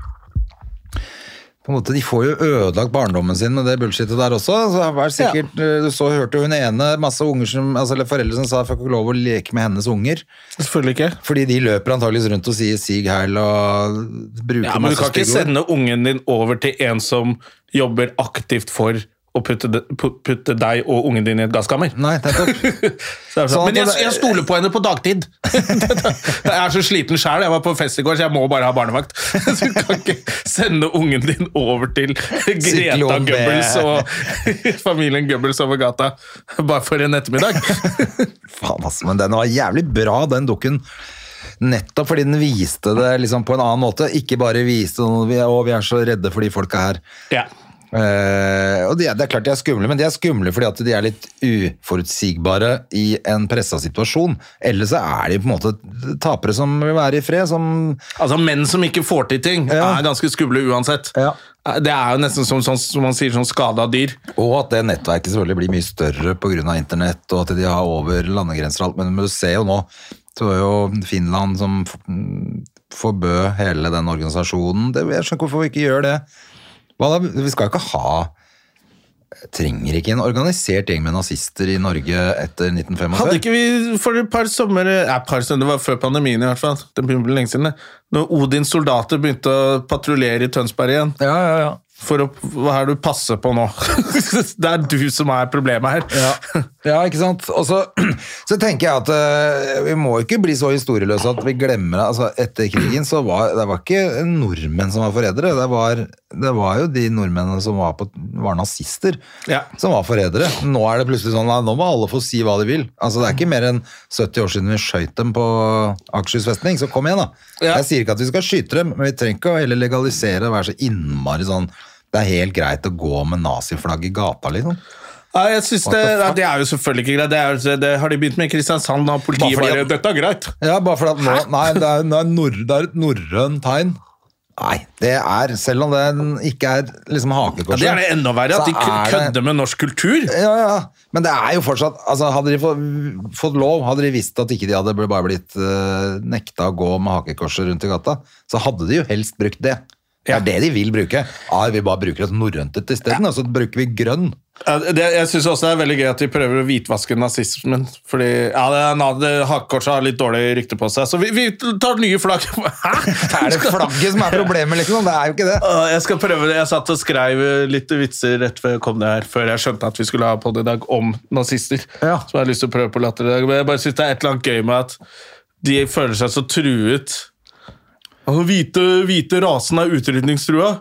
Speaker 2: på en måte, De får jo ødelagt barndommen sin med det bullshitet der også. Så det er sikkert, eh, Du så hørte jo hun ene masse unger som, altså, eller foreldre som sa fikk ikke lov å leke med hennes unger.
Speaker 1: Selvfølgelig ikke.
Speaker 2: Fordi de løper antageligvis rundt og sier 'sig heil' og bruker
Speaker 1: Ja, men du
Speaker 2: masse
Speaker 1: kan ikke
Speaker 2: stygge ord.
Speaker 1: sende ungen din over til en som jobber aktivt for å putte, de, pu- putte deg og ungen din i et gasskammer.
Speaker 2: Nei, nettopp.
Speaker 1: Så
Speaker 2: Sånn
Speaker 1: er det sånn,
Speaker 2: at
Speaker 1: men jeg,
Speaker 2: det-
Speaker 1: jeg stoler på henne på dagtid! jeg er så sliten sjæl. Jeg var på fest i går, så jeg må bare ha barnevakt. så du kan ikke sende ungen din over til Greta
Speaker 2: Syklon B.
Speaker 1: Goebbels og familien Goebbels over gata bare for en ettermiddag.
Speaker 2: Faen, altså, men den var jævlig bra, den dukken. Nettopp fordi den viste det liksom på en annen måte. Ikke bare viste noe, vi er, å, vi er så redde for de folka her.
Speaker 1: ja.
Speaker 2: Eh, og de, er- Det er klart de er skumle, men de er skumle fordi at de er litt uforutsigbare i en pressa situasjon. Ellers så er de på en måte tapere som vil være i fred, som
Speaker 1: Altså, menn som ikke får til ting,
Speaker 2: Ja.
Speaker 1: er ganske skumle uansett.
Speaker 2: Ja.
Speaker 1: Det er jo nesten som, sånn- som man sier, sånn skada dyr.
Speaker 2: Og at det nettverket selvfølgelig blir mye større pga. internett, og at de har over landegrenser og alt. Men du ser jo nå, det var jo Finland som f- mm, forbød hele den organisasjonen. Det, jeg skjønner ikke hvorfor vi ikke gjør det. Hva da? Vi skal jo ikke ha Trenger ikke en organisert gjeng med nazister i Norge etter 1945?
Speaker 1: Hadde ikke vi for et par sommer Nei, et par sommer, det var før pandemien i hvert fall. Det begynte lenge siden, det. Når Odins soldater begynte å patruljere i Tønsberg igjen.
Speaker 2: Ja, ja, ja.
Speaker 1: For å, hva er det du passer på nå? det er du som er problemet her.
Speaker 2: Ja, ja ikke sant? Og så, så tenker jeg at eh, vi må ikke bli så historieløse at vi glemmer altså, Etter krigen så var det var ikke nordmenn som var forrædere. Det, var- det var jo de nordmennene som var, på, var nazister,
Speaker 1: Ja.
Speaker 2: som var forrædere. Nå er det plutselig sånn at nå må alle få si hva de vil. Altså, det er ikke mer enn 70 år siden vi skøyt dem på Akershus festning, så kom igjen, da.
Speaker 1: Ja.
Speaker 2: Jeg sier ikke at vi skal skyte dem, men vi trenger ikke å heller legalisere og være så innmari sånn Det er helt greit å gå med naziflagg i gata, liksom.
Speaker 1: Ja, jeg synes det, ja, det er jo selvfølgelig ikke greit. Det, er, det har de begynt med i Kristiansand, og
Speaker 2: Bare
Speaker 1: politiet
Speaker 2: fordi
Speaker 1: bare
Speaker 2: at-
Speaker 1: Dette er greit!
Speaker 2: Ja, bare fordi at nå Nei, det er, det er nor- det er et norrønt tegn. Nei, det er, selv om den ikke er liksom hakekorset.
Speaker 1: Ja, det er det enda verre,
Speaker 2: så
Speaker 1: at de kø-
Speaker 2: er det-
Speaker 1: kødder med norsk kultur.
Speaker 2: Ja, ja. Men det er jo fortsatt altså, Hadde de fått, fått lov, hadde de visst at ikke de hadde bare blitt eh, nekta å gå med hakekorset rundt i gata, så hadde de jo helst brukt det. Det
Speaker 1: Ja.
Speaker 2: er det de vil bruke. Ja, vi bare bruker et norrønt et isteden, og så bruker vi grønn.
Speaker 1: Ja, Det, jeg syns også det er veldig gøy at de prøver å hvitvaske nazismen. Fordi ja, det er na- det- Hakekorset har litt dårlig rykte på seg, så vi, vi tar nye flagg. Hæ?
Speaker 2: Er det flagget som er problemet, liksom? Det er jo ikke det.
Speaker 1: Å, Jeg skal prøve det. Jeg satt og skrev eh, litt vitser rett før jeg kom ned her, før jeg skjønte at vi skulle ha på det i dag om nazister.
Speaker 2: Ja.
Speaker 1: Som jeg har lyst til å prøve på latter i dag. Men jeg bare synes det er et eller annet gøy med at de føler seg så truet. Altså, hvite, hvite rasen er utrydningstrua,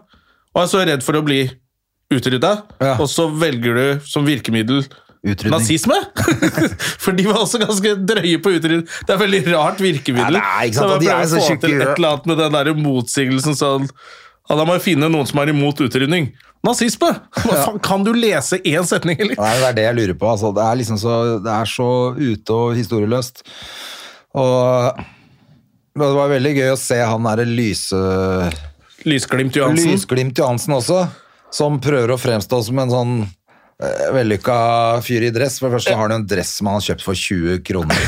Speaker 1: og er så redd for å bli utrydda.
Speaker 2: Ja.
Speaker 1: Og så velger du som virkemiddel
Speaker 2: Utrydning.
Speaker 1: nazisme. for de var også ganske drøye på utrydning. Det er et veldig rart virkemiddel.
Speaker 2: Ja, det er, ikke sant,
Speaker 1: Så
Speaker 2: og de
Speaker 1: jeg
Speaker 2: er
Speaker 1: prøver
Speaker 2: så
Speaker 1: å få
Speaker 2: tjukke i
Speaker 1: til et
Speaker 2: huet.
Speaker 1: eller annet med den der motsigelsen sånn ja, Da må jeg finne noen som er imot utrydning. Nazisme! Hva faen, kan du lese én setning, eller?
Speaker 2: Nei, det er det jeg lurer på. Altså, det, er liksom så, det er så ute og historieløst. Og men det var veldig gøy å se han derre lyse...
Speaker 1: Lysglimt Johansen.
Speaker 2: Lysglimt Johansen også, som prøver å fremstå som en sånn eh, vellykka fyr i dress. For det første har han jo en dress som han har kjøpt for 20 kroner.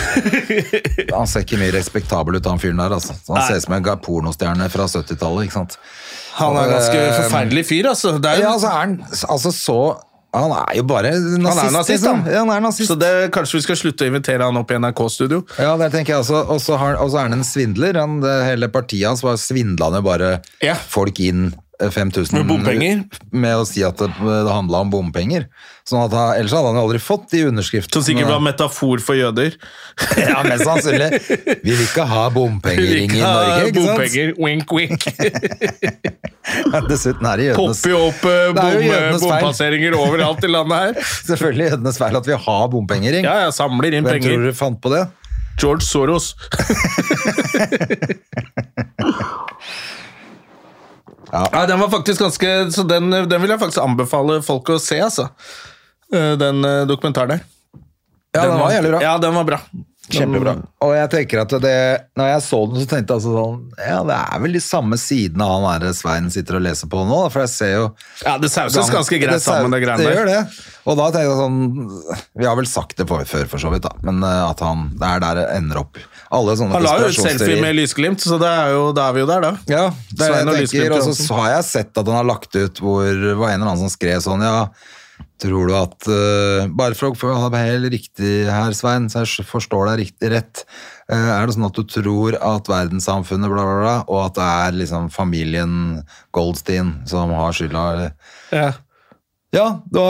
Speaker 2: Han ser ikke mye respektabel ut, han fyren der. Altså. Så han
Speaker 1: Nei.
Speaker 2: ser ut som en ga- pornostjerne fra 70-tallet, ikke sant.
Speaker 1: Han er en ganske
Speaker 2: Eh,
Speaker 1: forferdelig fyr, altså. Det er,
Speaker 2: Ja, altså er han altså, så Han er jo bare nazist,
Speaker 1: han er nazist,
Speaker 2: liksom.
Speaker 1: han.
Speaker 2: Ja, han er nazist.
Speaker 1: Så det, kanskje vi skal slutte å invitere han opp i NRK-studio.
Speaker 2: Ja, det tenker jeg også. Og så har- og så er han en svindler. Han, det, hele partiet hans var svindlende bare
Speaker 1: Ja.
Speaker 2: folk inn eh, 5000
Speaker 1: Med bompenger.
Speaker 2: Med å si at det, det handla om bompenger. Sånn at han, ellers hadde han jo aldri fått de underskriftene.
Speaker 1: Som sikkert var metafor for jøder.
Speaker 2: Ja, mest sannsynlig. Vi vil ikke ha bompengering i Norge, ikke sant?
Speaker 1: Bompenger, wink, wink.
Speaker 2: Dessuten er det jødenes
Speaker 1: Popper jo opp eh,
Speaker 2: Det er jo
Speaker 1: bom,
Speaker 2: jødenes feil.
Speaker 1: bompasseringer overalt i landet her.
Speaker 2: Selvfølgelig jødenes feil at vi har bompengering.
Speaker 1: Ja, jeg samler inn
Speaker 2: Hvem
Speaker 1: penger.
Speaker 2: tror du fant på det?
Speaker 1: George Soros. ja. den var faktisk ganske Så den, den vil jeg faktisk anbefale folk å se, altså. Eh, Den eh, dokumentaren der.
Speaker 2: Ja, den var jævlig bra.
Speaker 1: Ja, den var bra.
Speaker 2: Kjempebra. Mm. Og jeg tenker at det, når jeg så den, så tenkte jeg altså sånn Ja, det er vel de samme sidene han her Svein sitter og leser på nå, da, for jeg ser jo
Speaker 1: Ja, det sauses ganske greit
Speaker 2: ser-
Speaker 1: sammen, det greiene
Speaker 2: Det
Speaker 1: der.
Speaker 2: gjør det. Og da tenkte jeg sånn Vi har vel sagt det for, før, for så vidt, da, men eh, at han Det er der det ender opp. Alle sånne
Speaker 1: Han la jo ut
Speaker 2: konspirasjonsteorier.
Speaker 1: selfie med lysglimt, så det er jo, da er vi jo der, da.
Speaker 2: Ja, det er
Speaker 1: Svein
Speaker 2: det
Speaker 1: og
Speaker 2: jeg tenker.
Speaker 1: Lysglimt
Speaker 2: Og
Speaker 1: Johansen.
Speaker 2: så har jeg sett at han har lagt ut hvor det var en eller annen som skrev sånn, ja, tror du at eh, Bare for å ha det helt riktig her, Svein, så jeg forstår deg riktig rett. eh, er det sånn at du tror at verdenssamfunnet, bla, bla, bla, og at det er liksom familien Goldstein som har skylda? eller?
Speaker 1: Ja.
Speaker 2: Ja, da,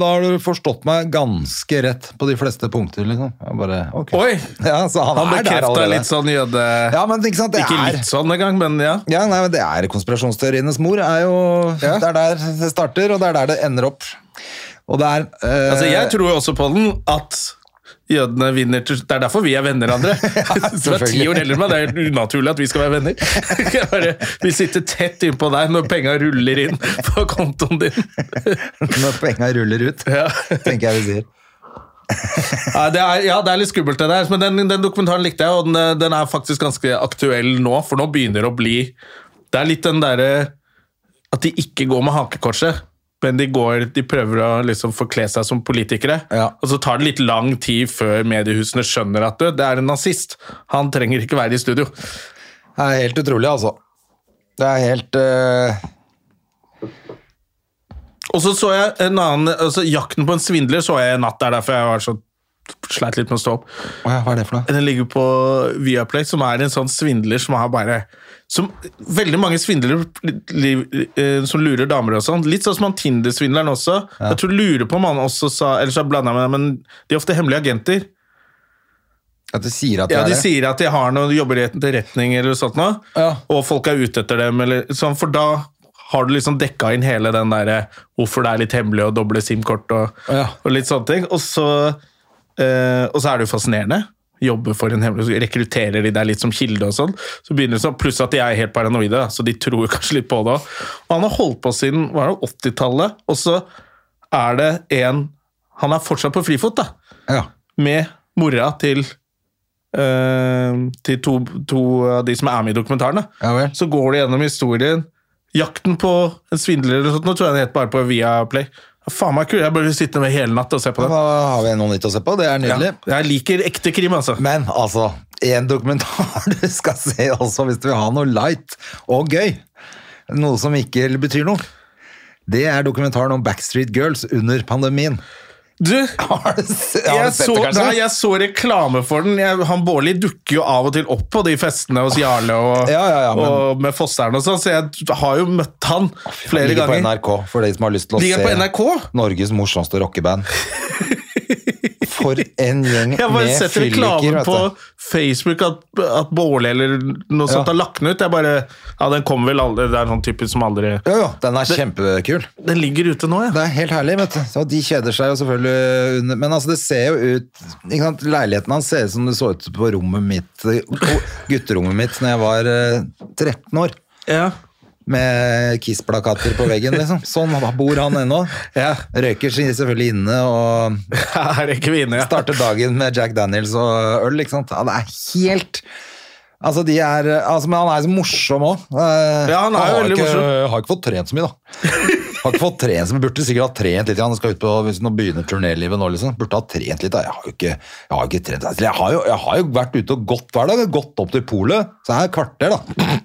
Speaker 2: da har du forstått meg ganske rett på de fleste punkter, liksom. Jeg bare, ok.
Speaker 1: Oi!
Speaker 2: Ja, så han,
Speaker 1: Han
Speaker 2: er der
Speaker 1: bekrefta
Speaker 2: allerede.
Speaker 1: litt sånn jøde...
Speaker 2: Ja, men ikke sant, det
Speaker 1: Ikke
Speaker 2: er...
Speaker 1: litt sånn engang, men ja.
Speaker 2: Ja, nei, men det er konspirasjonsteorienes mor. Er jo, Det er der det starter, og det er der det ender opp. Og det er eh,
Speaker 1: Altså, jeg tror jo også på den at jødene vinner til Det er derfor vi er venner, André. Du er ti
Speaker 2: selvfølgelig.
Speaker 1: år eldre enn meg, det er helt unaturlig at vi skal være venner. Jeg Bare, vi sitter tett innpå deg når penga ruller inn på kontoen din.
Speaker 2: Når penga ruller ut,
Speaker 1: Ja.
Speaker 2: tenker jeg vi sier.
Speaker 1: Ja, det er, ja, det er litt skummelt, det der, men den, den dokumentaren likte jeg, og den, eh, den er faktisk ganske aktuell nå, for nå begynner det å bli Det er litt den derre At de ikke går med hakekorset. Men de, går, de prøver å liksom forkle seg som politikere,
Speaker 2: Ja.
Speaker 1: og så tar det litt lang tid før mediehusene skjønner at du, det er en nazist. Han trenger ikke være i studio.
Speaker 2: Det er helt utrolig, altså. Det er helt eh,
Speaker 1: Og så så jeg en annen altså Jakten på en svindler så jeg i natt. Det er derfor jeg var så sleit litt med å stå opp.
Speaker 2: Å ja, hva er det for noe?
Speaker 1: Den ligger på Viaplay, som er en sånn svindler som har bare som, Veldig mange svindlere li, eh, som lurer damer og sånn. Litt sånn som han Tinder-svindleren også. Jeg tror lurer på om han også sa Ellers har jeg blanda meg, men de er ofte hemmelige agenter.
Speaker 2: At de sier at de
Speaker 1: Ja,
Speaker 2: er
Speaker 1: De
Speaker 2: det?
Speaker 1: sier at de har noe, jobber i et etterretning eller noe sånt, noe,
Speaker 2: Ja.
Speaker 1: og folk er ute etter dem. Eller, sånn, for da har du liksom dekka inn hele den derre hvorfor det er litt hemmelig å doble SIM-kort og,
Speaker 2: Ja.
Speaker 1: og litt sånne ting. Og så, eh, og så er det jo fascinerende. Jobbe for en hemmelig, så Rekrutterer de deg litt som kilde og sånn. så begynner det sånn, Pluss at de er helt paranoide, da, så de tror jo kanskje litt på det òg. Og han har holdt på siden hva er det, 80-tallet, og så er det en Han er fortsatt på frifot, da
Speaker 2: Ja.
Speaker 1: med mora til eh, til to, to av de som er med i dokumentaren. da.
Speaker 2: Ja vel.
Speaker 1: Så går de gjennom historien. Jakten på en svindler eller noe sånt. Nå tror jeg den het bare på Viaplay. Ja, Faen meg kul, Jeg burde sitte med hele natt og se på
Speaker 2: Da
Speaker 1: den.
Speaker 2: har vi noe nytt å se på. Det er nydelig.
Speaker 1: Ja. Jeg liker ekte krim, altså.
Speaker 2: Men altså, en dokumentar du skal se også hvis du vil ha noe light og gøy. Noe som ikke betyr noe. Det er dokumentaren om Backstreet Girls under pandemien.
Speaker 1: Du,
Speaker 2: Har du, se, har
Speaker 1: jeg
Speaker 2: du sett
Speaker 1: så,
Speaker 2: det, kanskje?
Speaker 1: nei, jeg så reklame for den. Jeg, han Bårli dukker jo av og til opp på de festene hos Jarle og,
Speaker 2: Ja, ja, ja, men-
Speaker 1: og med Fossern og sånn, så jeg har jo møtt han flere
Speaker 2: Ligger på
Speaker 1: ganger.
Speaker 2: NRK, for de som har lyst til å
Speaker 1: Ligger
Speaker 2: se
Speaker 1: på NRK?
Speaker 2: Norges morsomste rockeband. For en gjeng
Speaker 1: Jeg bare
Speaker 2: med
Speaker 1: setter
Speaker 2: fylliker,
Speaker 1: reklamen
Speaker 2: vet
Speaker 1: på
Speaker 2: du.
Speaker 1: Facebook at, at Bårli eller noe sånt har lagt den ut. Jeg bare, ja, Den kommer vel aldri. Det er sånn typisk som aldri
Speaker 2: Jo, jo, den er kjempekul.
Speaker 1: Den ligger ute nå, ja.
Speaker 2: Det er helt herlig, vet du. Og de kjeder seg jo selvfølgelig under Men altså, det ser jo ut ikke sant? Leiligheten hans ser ut som det så ut på rommet mitt, eh, gutterommet mitt, når jeg var eh, 13 år.
Speaker 1: ja.
Speaker 2: Med Kiss-plakater på veggen, liksom. Sånn bor han ennå.
Speaker 1: Ja.
Speaker 2: Røyker selvfølgelig inne og
Speaker 1: Her er kvinne, ja.
Speaker 2: starter dagen med Jack Daniels og øl, ikke sant. Han er helt Altså, de er altså, Men han er så morsom òg.
Speaker 1: Ja, han er jo veldig morsom.
Speaker 2: Har ikke fått trent så mye, da. Har ikke fått trent så mye. Burde sikkert ha trent litt. Han skal ut på, hvis han begynner turnélivet nå, liksom. Burde ha trent litt. Da. Jeg har jo ikke, jeg har jo ikke trent. Altså, Jeg har, jo, jeg har jo vært ute og gått hver dag. Jeg har Gått opp til polet. Så det er et kvarter, da.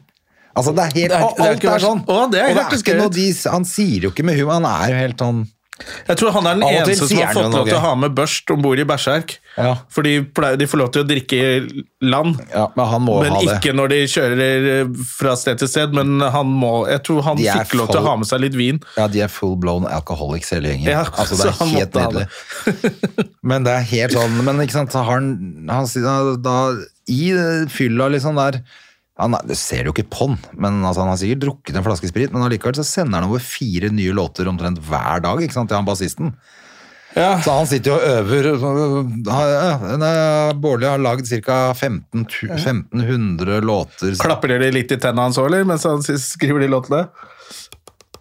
Speaker 2: Altså, det er helt
Speaker 1: Det er ikke- det er
Speaker 2: Alt
Speaker 1: ikke
Speaker 2: er sånn.
Speaker 1: verst. Å, det er
Speaker 2: og det
Speaker 1: helt
Speaker 2: er ikke
Speaker 1: skrevet.
Speaker 2: noe de Han sier jo ikke med humor. Han er jo helt sånn
Speaker 1: Jeg tror han er den
Speaker 2: Av og til
Speaker 1: eneste som
Speaker 2: sier
Speaker 1: har
Speaker 2: han jo
Speaker 1: fått lov
Speaker 2: noe
Speaker 1: til å
Speaker 2: gøy.
Speaker 1: ha med børst om bord i Berserk.
Speaker 2: Ja.
Speaker 1: For de, pleier, de får lov til å drikke i land.
Speaker 2: Ja, men han må
Speaker 1: Men
Speaker 2: ha det.
Speaker 1: ikke når de kjører eh, fra sted til sted, men han må Jeg tror han
Speaker 2: De er
Speaker 1: fikk lov til
Speaker 2: folk-
Speaker 1: å ha med seg litt vin.
Speaker 2: Ja, de er full blown alcoholics hele gjengen.
Speaker 1: Ja,
Speaker 2: altså, det
Speaker 1: så
Speaker 2: er
Speaker 1: han
Speaker 2: helt
Speaker 1: måtte ha
Speaker 2: nydelig. men det er helt sånn Men ikke sant, så har han, han sier da, da I fylla liksom der han, er- Det ser du jo ikke på'n, men altså, han har sikkert drukket en flaske sprit, men allikevel så sender han over fire nye låter omtrent hver dag ikke sant, til han bassisten.
Speaker 1: Ja.
Speaker 2: Så han sitter jo og øver. og- han- ja, Bårli har lagd ca. 15, tu- 1500 låter.
Speaker 1: Klapper de litt i tennene hans òg, eller? Mens han s- skriver de låtene?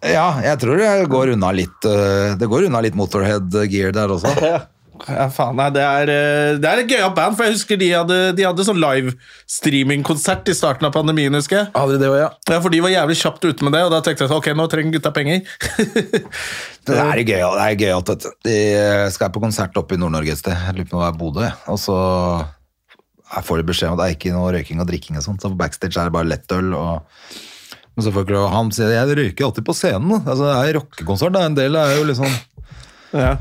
Speaker 2: Ja, jeg tror det går unna litt, øh, det går unna litt Motorhead-gear der også.
Speaker 1: Ja, faen, nei, det er, eh, det er et gøyalt band, for jeg husker de hadde, de hadde sånn livestreaming-konsert i starten av pandemien, husker jeg.
Speaker 2: Hadde de det òg, ja?
Speaker 1: Ja, for de var jævlig kjapt ute med det, og da tenkte jeg sånn, ok, nå trenger gutta penger.
Speaker 2: Det er gøy, det er gøy at vet du. de eh, skal på konsert oppe i Nord-Norge et sted. Jeg lurer på om det er Bodø. jeg. Og så får de beskjed om at det er ikke noe røyking og drikking og sånt. Så backstage er det bare lettøl og Men så får ikke lov. Han sier jeg røyker alltid på scenen. da." Altså, det er rockekonsert. da. En del er jo liksom
Speaker 1: ja.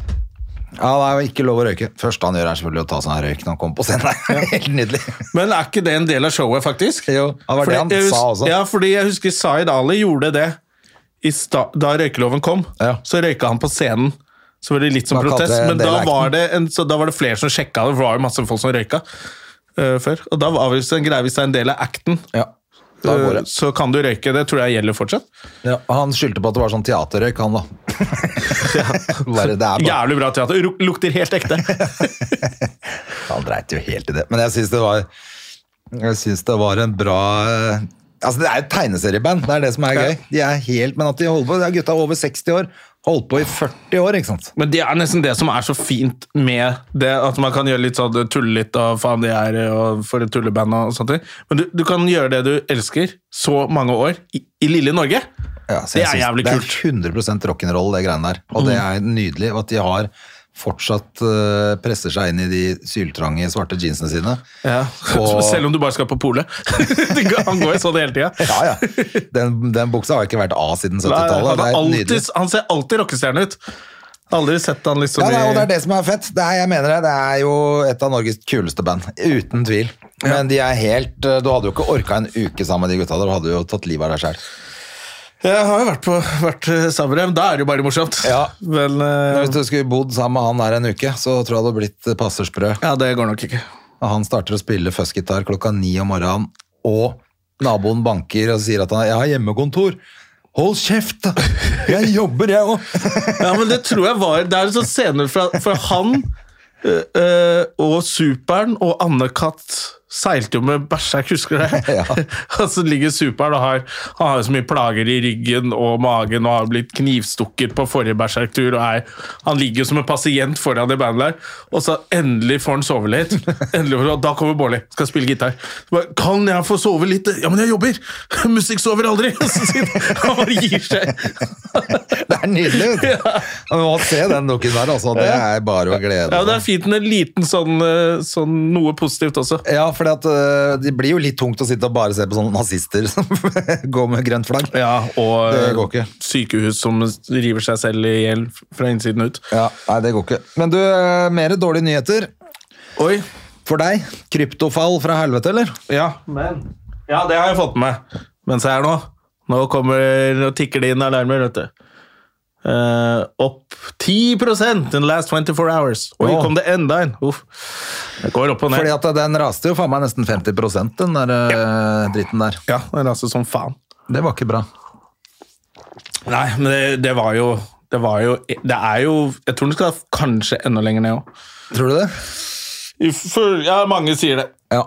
Speaker 2: Ja, det er jo ikke lov å røyke. Første han gjør, er selvfølgelig å ta seg en røyk når han kommer på scenen. Det er Helt nydelig.
Speaker 1: Men er ikke det en del av showet, faktisk?
Speaker 2: Jo, det var det han
Speaker 1: jeg hus-
Speaker 2: sa også.
Speaker 1: Ja, fordi jeg husker Zaid Ali gjorde det i sta da røykeloven kom.
Speaker 2: Ja.
Speaker 1: Så røyka han på scenen. Så var det litt som
Speaker 2: Da kalte
Speaker 1: protest,
Speaker 2: det en
Speaker 1: men
Speaker 2: del
Speaker 1: da
Speaker 2: av
Speaker 1: var, det en, så da var det flere som sjekka det, for det var jo masse folk som røyka eh, før. Og da var det en greie hvis det er en del av acten,
Speaker 2: Ja, da går
Speaker 1: eh,
Speaker 2: det.
Speaker 1: så kan du røyke. Det tror jeg gjelder fortsatt.
Speaker 2: Ja, han skyldte på at det var sånn teaterrøyk, han da. Bare, det er bare
Speaker 1: Jævlig bra teater. Ru- Lukter helt ekte.
Speaker 2: Han dreit jo helt i det. Men jeg syns det var Jeg synes det var en bra eh, Altså, det er jo et tegneserieband, det er det som er gøy. De er helt, Men at de holder på de er Gutta over 60 år. Holdt på i 40 år, ikke sant.
Speaker 1: Men det er nesten det som er så fint med det, at man kan gjøre litt sånn tulle litt av faen de er og for et tulleband og sånt. Men du, du kan gjøre det du elsker så mange år i, i lille Norge.
Speaker 2: Ja, så
Speaker 1: Det
Speaker 2: jeg
Speaker 1: er
Speaker 2: synes
Speaker 1: jævlig
Speaker 2: Det er 100 rock'n'roll, det greiene der. Og det er nydelig. Og at de har fortsatt eh, presser seg inn i de syltrange svarte jeansene sine. Og-
Speaker 1: Selv om du bare skal på polet. Det går- Han går jo sånn hele tida.
Speaker 2: Ja, ja. Den, den buksa har ikke vært av siden
Speaker 1: Han,
Speaker 2: 70-tallet.
Speaker 1: er
Speaker 2: Det er nydelig.
Speaker 1: alltid, han ser alltid rockestjerne ut. Aldri sett han liksom
Speaker 2: Ja, nei, og det er
Speaker 1: i
Speaker 2: det som er fett. Det er, jeg mener det, det er jo et av Norges kuleste band, uten tvil. Men de er helt eh, Du hadde jo ikke orka en uke sammen med de gutta der, du hadde jo tatt livet av deg sjøl.
Speaker 1: Jeg har jo vært på vært eh, sammen med dem. Da er det jo bare morsomt.
Speaker 2: Ja.
Speaker 1: Men eh,
Speaker 2: Hvis du skulle bodd sammen med han her en uke, så tror jeg du hadde blitt eh, passer sprø.
Speaker 1: ja, det går nok ikke.
Speaker 2: Og Han starter å spille fuzzgitar klokka ni om morgenen, og naboen banker og sier at han jeg har hjemmekontor. Hold kjeft! da! Jeg jobber, jeg òg!
Speaker 1: Ja, men det tror jeg var Det er en sånn eh, scene fra, fra han øh, øh, og Superen og Anne-Kat. Seilte jo med bæsja, husker du det?
Speaker 2: Ja.
Speaker 1: og så ligger Super'n og har, han har jo så mye plager i ryggen og magen og har blitt knivstukket på forrige bæsjerktur. og er- Han ligger jo som en pasient foran i bandet der, og så endelig får han sove litt. Endelig, får- og da kommer Bårli, skal spille gitar. Så bare, kan jeg få sove litt? Ja, men jeg jobber! Musikk sover aldri! Og så sitter han og gir seg.
Speaker 2: Det er nydelig! vet du. Man må se den dukken der, altså. Det er bare å glede
Speaker 1: Ja, Det er
Speaker 2: seg.
Speaker 1: fint med en liten sånn, eh, sånn noe positivt også.
Speaker 2: Ja, for det blir jo litt tungt å sitte og bare se på sånne nazister som går med grønt flagg.
Speaker 1: Ja, og eh,
Speaker 2: Det går ikke.
Speaker 1: sykehus som river seg selv i hjel fra innsiden ut.
Speaker 2: Ja, Nei, det går ikke. Men du, mer dårlige nyheter.
Speaker 1: Oi,
Speaker 2: For deg, kryptofall fra helvete, eller?
Speaker 1: ja, men Ja, det har jeg fått med. Mens jeg er nå. Nå kommer Nå tikker det inn alarmer, vet du. Eh, opp 10 in the last 24 hours. Oi,
Speaker 2: Å.
Speaker 1: kom det enda en! Uff. Det går opp og ned.
Speaker 2: Fordi at den raste jo faen meg nesten 50 den der eh, dritten der.
Speaker 1: Ja, det raser som faen.
Speaker 2: Det var ikke bra.
Speaker 1: Nei, men det, det var jo det var jo Det er jo Jeg tror den skal kanskje enda lenger ned òg.
Speaker 2: Tror du det?
Speaker 1: Ja, mange sier det.
Speaker 2: Ja.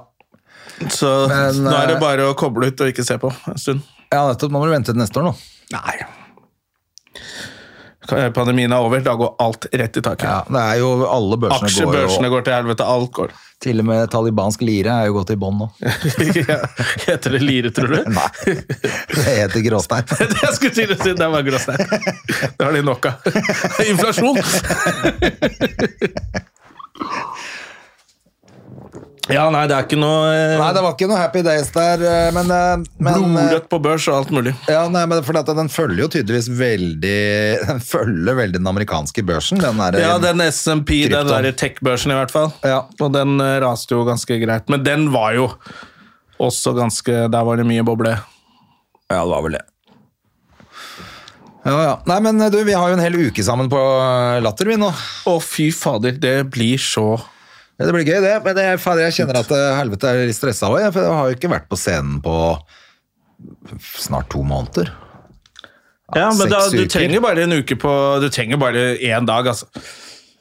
Speaker 1: Så
Speaker 2: Men,
Speaker 1: nå er det
Speaker 2: eh,
Speaker 1: bare å koble ut og ikke se på en stund.
Speaker 2: Ja, nettopp. Nå må du vente til neste år, nå.
Speaker 1: Nei. eh, Pandemien er over, da går alt rett i taket.
Speaker 2: Ja, det er jo alle børsene
Speaker 1: Aksjer,
Speaker 2: går
Speaker 1: børsene
Speaker 2: jo
Speaker 1: går til helvete, alt går.
Speaker 2: Til og med talibansk lire er jo gått i bånn nå.
Speaker 1: Heter det lire, tror du?
Speaker 2: Nei, det heter gråstein.
Speaker 1: Det jeg skulle til å si, det var gråstein. Det har de nok av. Inflasjon! Ja, nei, det er ikke noe eh,
Speaker 2: Nei, det var ikke noe happy days der, eh, men, eh, men eh,
Speaker 1: blodrødt på børs og alt mulig.
Speaker 2: ja, nei, men fordi at Den følger jo tydeligvis veldig Den følger veldig den amerikanske børsen. Den der,
Speaker 1: Ja, den SMP, den
Speaker 2: krypton.
Speaker 1: der tech-børsen i hvert fall.
Speaker 2: Ja.
Speaker 1: Og den eh, raste jo ganske greit. Men den var jo også ganske Der var det mye boble.
Speaker 2: Ja, det var vel det. Ja, ja. Nei, men eh, du, vi har jo en hel uke sammen på eh, Latter, vi nå.
Speaker 1: Å, fy fader, det blir så
Speaker 2: Ja, det blir gøy, det. Men jeg, fader, jeg kjenner at eh, helvete er litt stressa òg, for jeg har jo ikke vært på scenen på snart to måneder.
Speaker 1: Ja, men da,
Speaker 2: seks
Speaker 1: du
Speaker 2: uker.
Speaker 1: trenger bare en uke på Du trenger bare én dag, altså.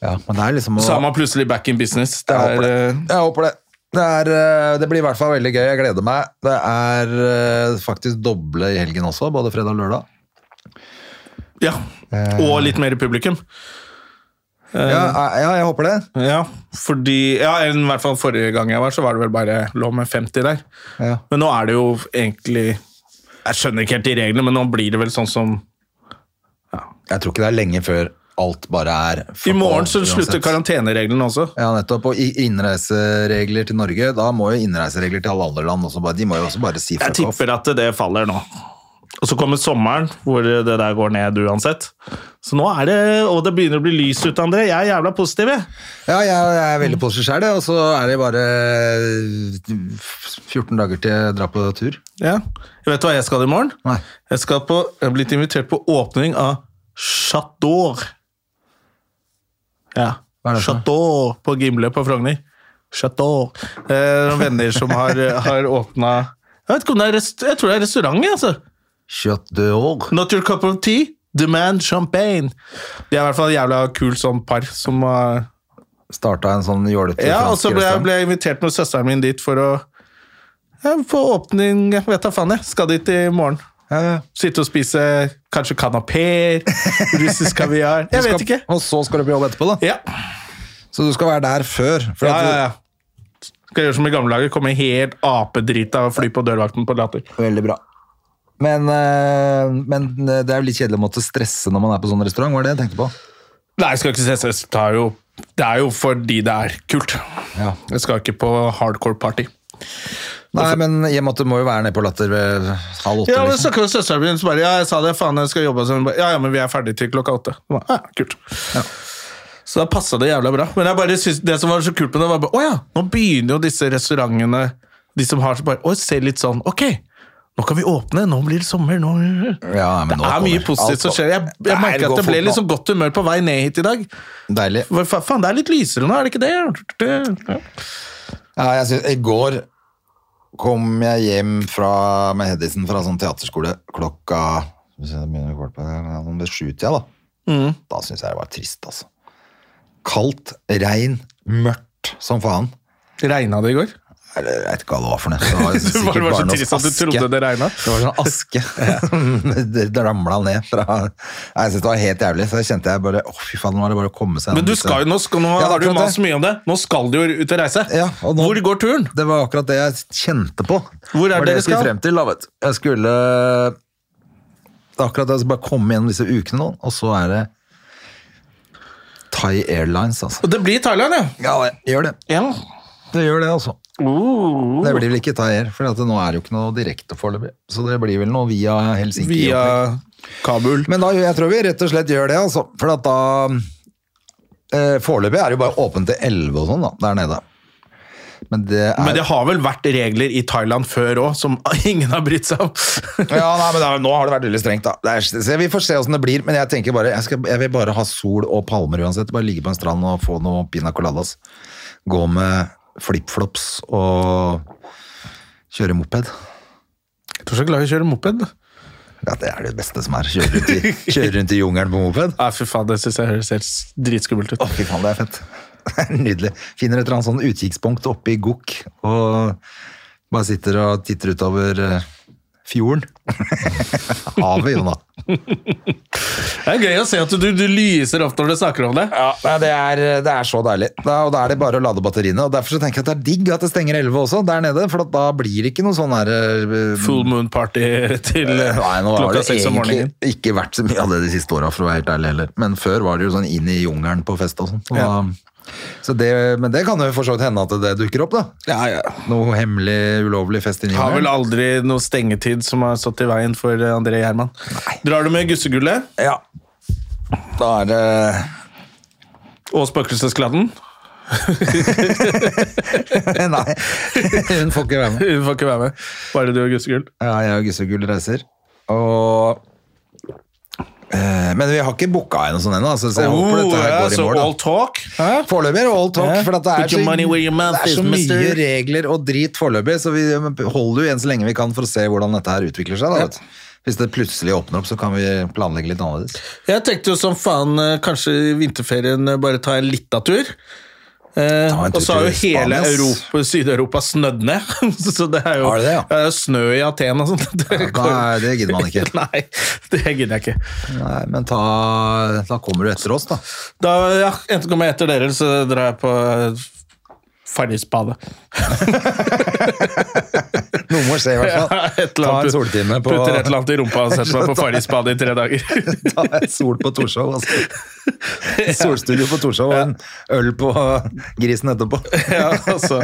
Speaker 2: Ja, men det er liksom å-
Speaker 1: Så er man plutselig back in business. Det
Speaker 2: Jeg
Speaker 1: er,
Speaker 2: håper det.
Speaker 1: eh,
Speaker 2: Jeg håper det. Det, er, eh, det blir i hvert fall veldig gøy. Jeg gleder meg. Det er eh, faktisk doble i helgen også, både fredag og lørdag.
Speaker 1: eh, ja. Og litt mer publikum.
Speaker 2: Ja, eh, ja jeg håper det.
Speaker 1: Ja, fordi Ja, eller i hvert fall forrige gang jeg var, så var det vel bare lå med 50 der.
Speaker 2: Ja.
Speaker 1: Men nå er det jo egentlig Jeg skjønner ikke helt de reglene, men nå blir det vel sånn som
Speaker 2: Jeg tror ikke det er lenge før alt bare er
Speaker 1: I morgen så
Speaker 2: uansett.
Speaker 1: slutter karantenereglene også.
Speaker 2: Ja, nettopp. Og i- innreiseregler til Norge. Da må jo innreiseregler til alle andre land også bare De må jo også bare si
Speaker 1: Jeg
Speaker 2: fuck off.
Speaker 1: tipper at det faller nå. Og så kommer sommeren, hvor det der går ned uansett. Så nå er det Og det begynner å bli lys ut, André. Jeg er jævla positiv, jeg.
Speaker 2: Ja, jeg, jeg er veldig positiv sjøl, og så er det bare 14 dager til jeg drar på tur.
Speaker 1: Ja. Vet du hva jeg skal i morgen?
Speaker 2: Nei.
Speaker 1: Jeg skal på Jeg er blitt invitert på åpning av Chateau. Ja.
Speaker 2: Hva er det for noe?
Speaker 1: Chateau på Gimle på Frogner. Chateau. Eh, noen venner som har, har åpna jeg, vet ikke om det er rest- jeg tror det er restaurant, jeg, altså.
Speaker 2: Kjøtt de år.
Speaker 1: Not your cup of tea, demand champagne. De er i hvert fall et jævla kul sånn par som har
Speaker 2: Starta en sånn jålete
Speaker 1: Ja, og
Speaker 2: fransk
Speaker 1: så ble jeg,
Speaker 2: restaurant.
Speaker 1: ble jeg invitert med søsteren min dit for å ja, få åpning jeg Vet da faen, jeg. Skal dit i morgen.
Speaker 2: Ja, ja.
Speaker 1: Sitte og spise kanskje kanapeer, russisk kaviar Jeg
Speaker 2: Du
Speaker 1: vet
Speaker 2: skal-
Speaker 1: ikke.
Speaker 2: Og så skal du på jobb etterpå, da.
Speaker 1: Ja,
Speaker 2: Så du skal være der før. For
Speaker 1: ja,
Speaker 2: at
Speaker 1: ja, ja. Skal gjøre som i gamle dager, komme helt apedrita og fly på dørvakten på latter.
Speaker 2: Du, veldig bra. Men, eh, men det er jo litt kjedelig å måtte stresse når man er på sånn restaurant. Var det jeg tenkte på?
Speaker 1: Nei, jeg skal ikke se stress. Det er jo, det er jo fordi det er kult.
Speaker 2: Ja.
Speaker 1: Jeg skal ikke på hardcore party.
Speaker 2: Nei, men i og med at du må jo være nede på Latter ved halv åtte.
Speaker 1: Ja, men
Speaker 2: liksom.
Speaker 1: snakka med søsteren min, så bare Ja, jeg sa det, faen, jeg skal jobbe. Så hun bare, ja, ja, men vi er ferdige til klokka åtte. Jeg Bare, ja, kult. Så da passa det jævla bra. Men jeg bare synes, det som var så kult med det, var bare Å ja, nå begynner jo disse restaurantene, de som har så bare Å, ser litt sånn Ok, nå kan vi åpne, nå blir det sommer, nå
Speaker 2: Ja, men
Speaker 1: Det
Speaker 2: nå
Speaker 1: er
Speaker 2: kommer
Speaker 1: mye
Speaker 2: alt
Speaker 1: positivt som
Speaker 2: opp.
Speaker 1: skjer. Jeg,
Speaker 2: Nei,
Speaker 1: jeg
Speaker 2: går
Speaker 1: merker at det ble
Speaker 2: fort nå.
Speaker 1: liksom godt humør på vei ned hit i dag.
Speaker 2: Deilig.
Speaker 1: Hva fa- Faen, det er litt lysere nå, er det ikke det? det?
Speaker 2: Ja, jeg synes, I går kom jeg hjem fra, med Hedisen fra sånn teaterskole klokka skal vi se, det begynner kvart på, ja, sånn ved sjutida. Da Da syns jeg det var trist, altså. Kaldt, regn, mørkt som faen.
Speaker 1: Regna det i går?
Speaker 2: Eller, jeg vet ikke hva det var for noe. Det var,
Speaker 1: Det var
Speaker 2: sikkert
Speaker 1: bare så
Speaker 2: noe
Speaker 1: trist at du
Speaker 2: aske.
Speaker 1: trodde det regnet.
Speaker 2: Det var sånn aske. det ramla ned fra Nei, Jeg synes det var helt jævlig. Så jeg kjente jeg bare Å, fy faen, nå er det bare å komme seg
Speaker 1: Men du
Speaker 2: gjennom
Speaker 1: skal jo, nå, skal, nå
Speaker 2: Ja, det er
Speaker 1: har du
Speaker 2: akkurat
Speaker 1: mast
Speaker 2: det.
Speaker 1: mye om det. Nå skal du jo ut og reise.
Speaker 2: Ja, og nå-
Speaker 1: Hvor går turen?
Speaker 2: Det var akkurat det jeg kjente på.
Speaker 1: Hvor er
Speaker 2: Var
Speaker 1: dere
Speaker 2: jeg skulle
Speaker 1: skal?
Speaker 2: frem til, da, vet du. Jeg skulle akkurat jeg skal bare komme gjennom disse ukene nå, og så er det Thai Airlines, altså.
Speaker 1: Og Det blir Thailand, ja.
Speaker 2: Ja, det gjør det.
Speaker 1: ja.
Speaker 2: Det gjør det, altså.
Speaker 1: Uh.
Speaker 2: Det blir vel ikke Thai Air, for at det nå er det jo ikke noe direkte foreløpig. Så det blir vel noe via Helsinki.
Speaker 1: Via Kabul.
Speaker 2: Men da, jeg tror vi rett og slett gjør det, altså. For at da eh, Foreløpig er det jo bare åpent til 11 og sånn, da, der nede. Men det er
Speaker 1: Men det har vel vært regler i Thailand før òg som ingen har brydd seg om.
Speaker 2: Ja, nei, men da, Nå har det vært veldig strengt, da. Det er, så vi får se åssen det blir. Men jeg tenker bare, jeg, skal, jeg vil bare ha sol og palmer uansett. Bare ligge på en strand og få noe pina coladas. Gå med flipflops og kjøre moped.
Speaker 1: Jeg tror så glad i å kjøre moped.
Speaker 2: Ja, Det er det beste som er. Kjøre rundt i, kjøre rundt i jungelen på moped.
Speaker 1: Nei, fy faen, det syns jeg høres helt s- dritskummelt ut.
Speaker 2: Å, fy faen, det er fett. Det er Nydelig. Finner et eller annet sånn utkikkspunkt oppe i Gokk, og bare sitter og titter utover eh, fjorden. Havet, Jonna.
Speaker 1: Det er gøy å se at du, du lyser opp når du snakker om det.
Speaker 2: Nei, det, er, det er så deilig. Da, og da er det bare å lade batteriene. Og derfor så tenker jeg at det er digg at det stenger 11 også, der nede. For at da blir det ikke noe sånn her eh,
Speaker 1: Full moon party til eh,
Speaker 2: Nei, nå har
Speaker 1: klokka
Speaker 2: det
Speaker 1: seks om
Speaker 2: egentlig
Speaker 1: morgenen.
Speaker 2: ikke vært så mye av det de siste åra, for å være helt ærlig heller. Men før var det jo sånn inn i jungelen på fest og sånn. Så,
Speaker 1: Ja.
Speaker 2: da- så det, men det kan jo for så vidt hende at det dukker opp, da. Noe hemmelig, ulovlig fest inni
Speaker 1: Har vel aldri noe stengetid som har stått i veien for eh, André Gjerman. Drar du med gussegullet
Speaker 2: Ja. Da er det
Speaker 1: og spøkelsesgladden?
Speaker 2: Nei, hun får ikke være med.
Speaker 1: Hun får ikke være med. Bare du og gussegull.
Speaker 2: Ja, jeg og Gussegull reiser. Og eh, Men vi har ikke booka en sånn ennå, altså, så jeg håper dette her
Speaker 1: Oh, ja,
Speaker 2: går i
Speaker 1: så
Speaker 2: mål. da.
Speaker 1: all talk.
Speaker 2: Foreløpig er det all talk,
Speaker 1: Ja.
Speaker 2: for at det er
Speaker 1: Put your
Speaker 2: så,
Speaker 1: money where your mouth
Speaker 2: det er
Speaker 1: is,
Speaker 2: så mye
Speaker 1: mister.
Speaker 2: regler og drit foreløpig, så vi holder jo igjen så lenge vi kan for å se hvordan dette her utvikler seg. Da, vet. du. Hvis det plutselig åpner opp, så kan vi planlegge litt annerledes.
Speaker 1: Jeg tenkte jo som faen, eh, kanskje i vinterferien eh, bare ta en lita tur. Eh,
Speaker 2: Ta en tur
Speaker 1: og så har jo
Speaker 2: til
Speaker 1: hele
Speaker 2: Spania, ass.
Speaker 1: Europa, Syd-Europa snødd ned. så det er jo
Speaker 2: Har det det, ja?
Speaker 1: er jo snø i Aten og sånt. Det
Speaker 2: Nei, det gidder man ikke.
Speaker 1: Nei, det gidder jeg ikke.
Speaker 2: Nei, men ta, da kommer du etter oss, da.
Speaker 1: Da, ja, Enten kommer jeg etter dere, eller så drar jeg på eh, Farrisbadet.
Speaker 2: Noe må skje, i hvert fall. Ta en soltime på
Speaker 1: Putter et eller annet i rumpa og setter meg på Farrisbadet i tre dager.
Speaker 2: Ta en sol på Torshov, altså. Solstudio på Torshov og en øl på grisen etterpå.
Speaker 1: ja, altså.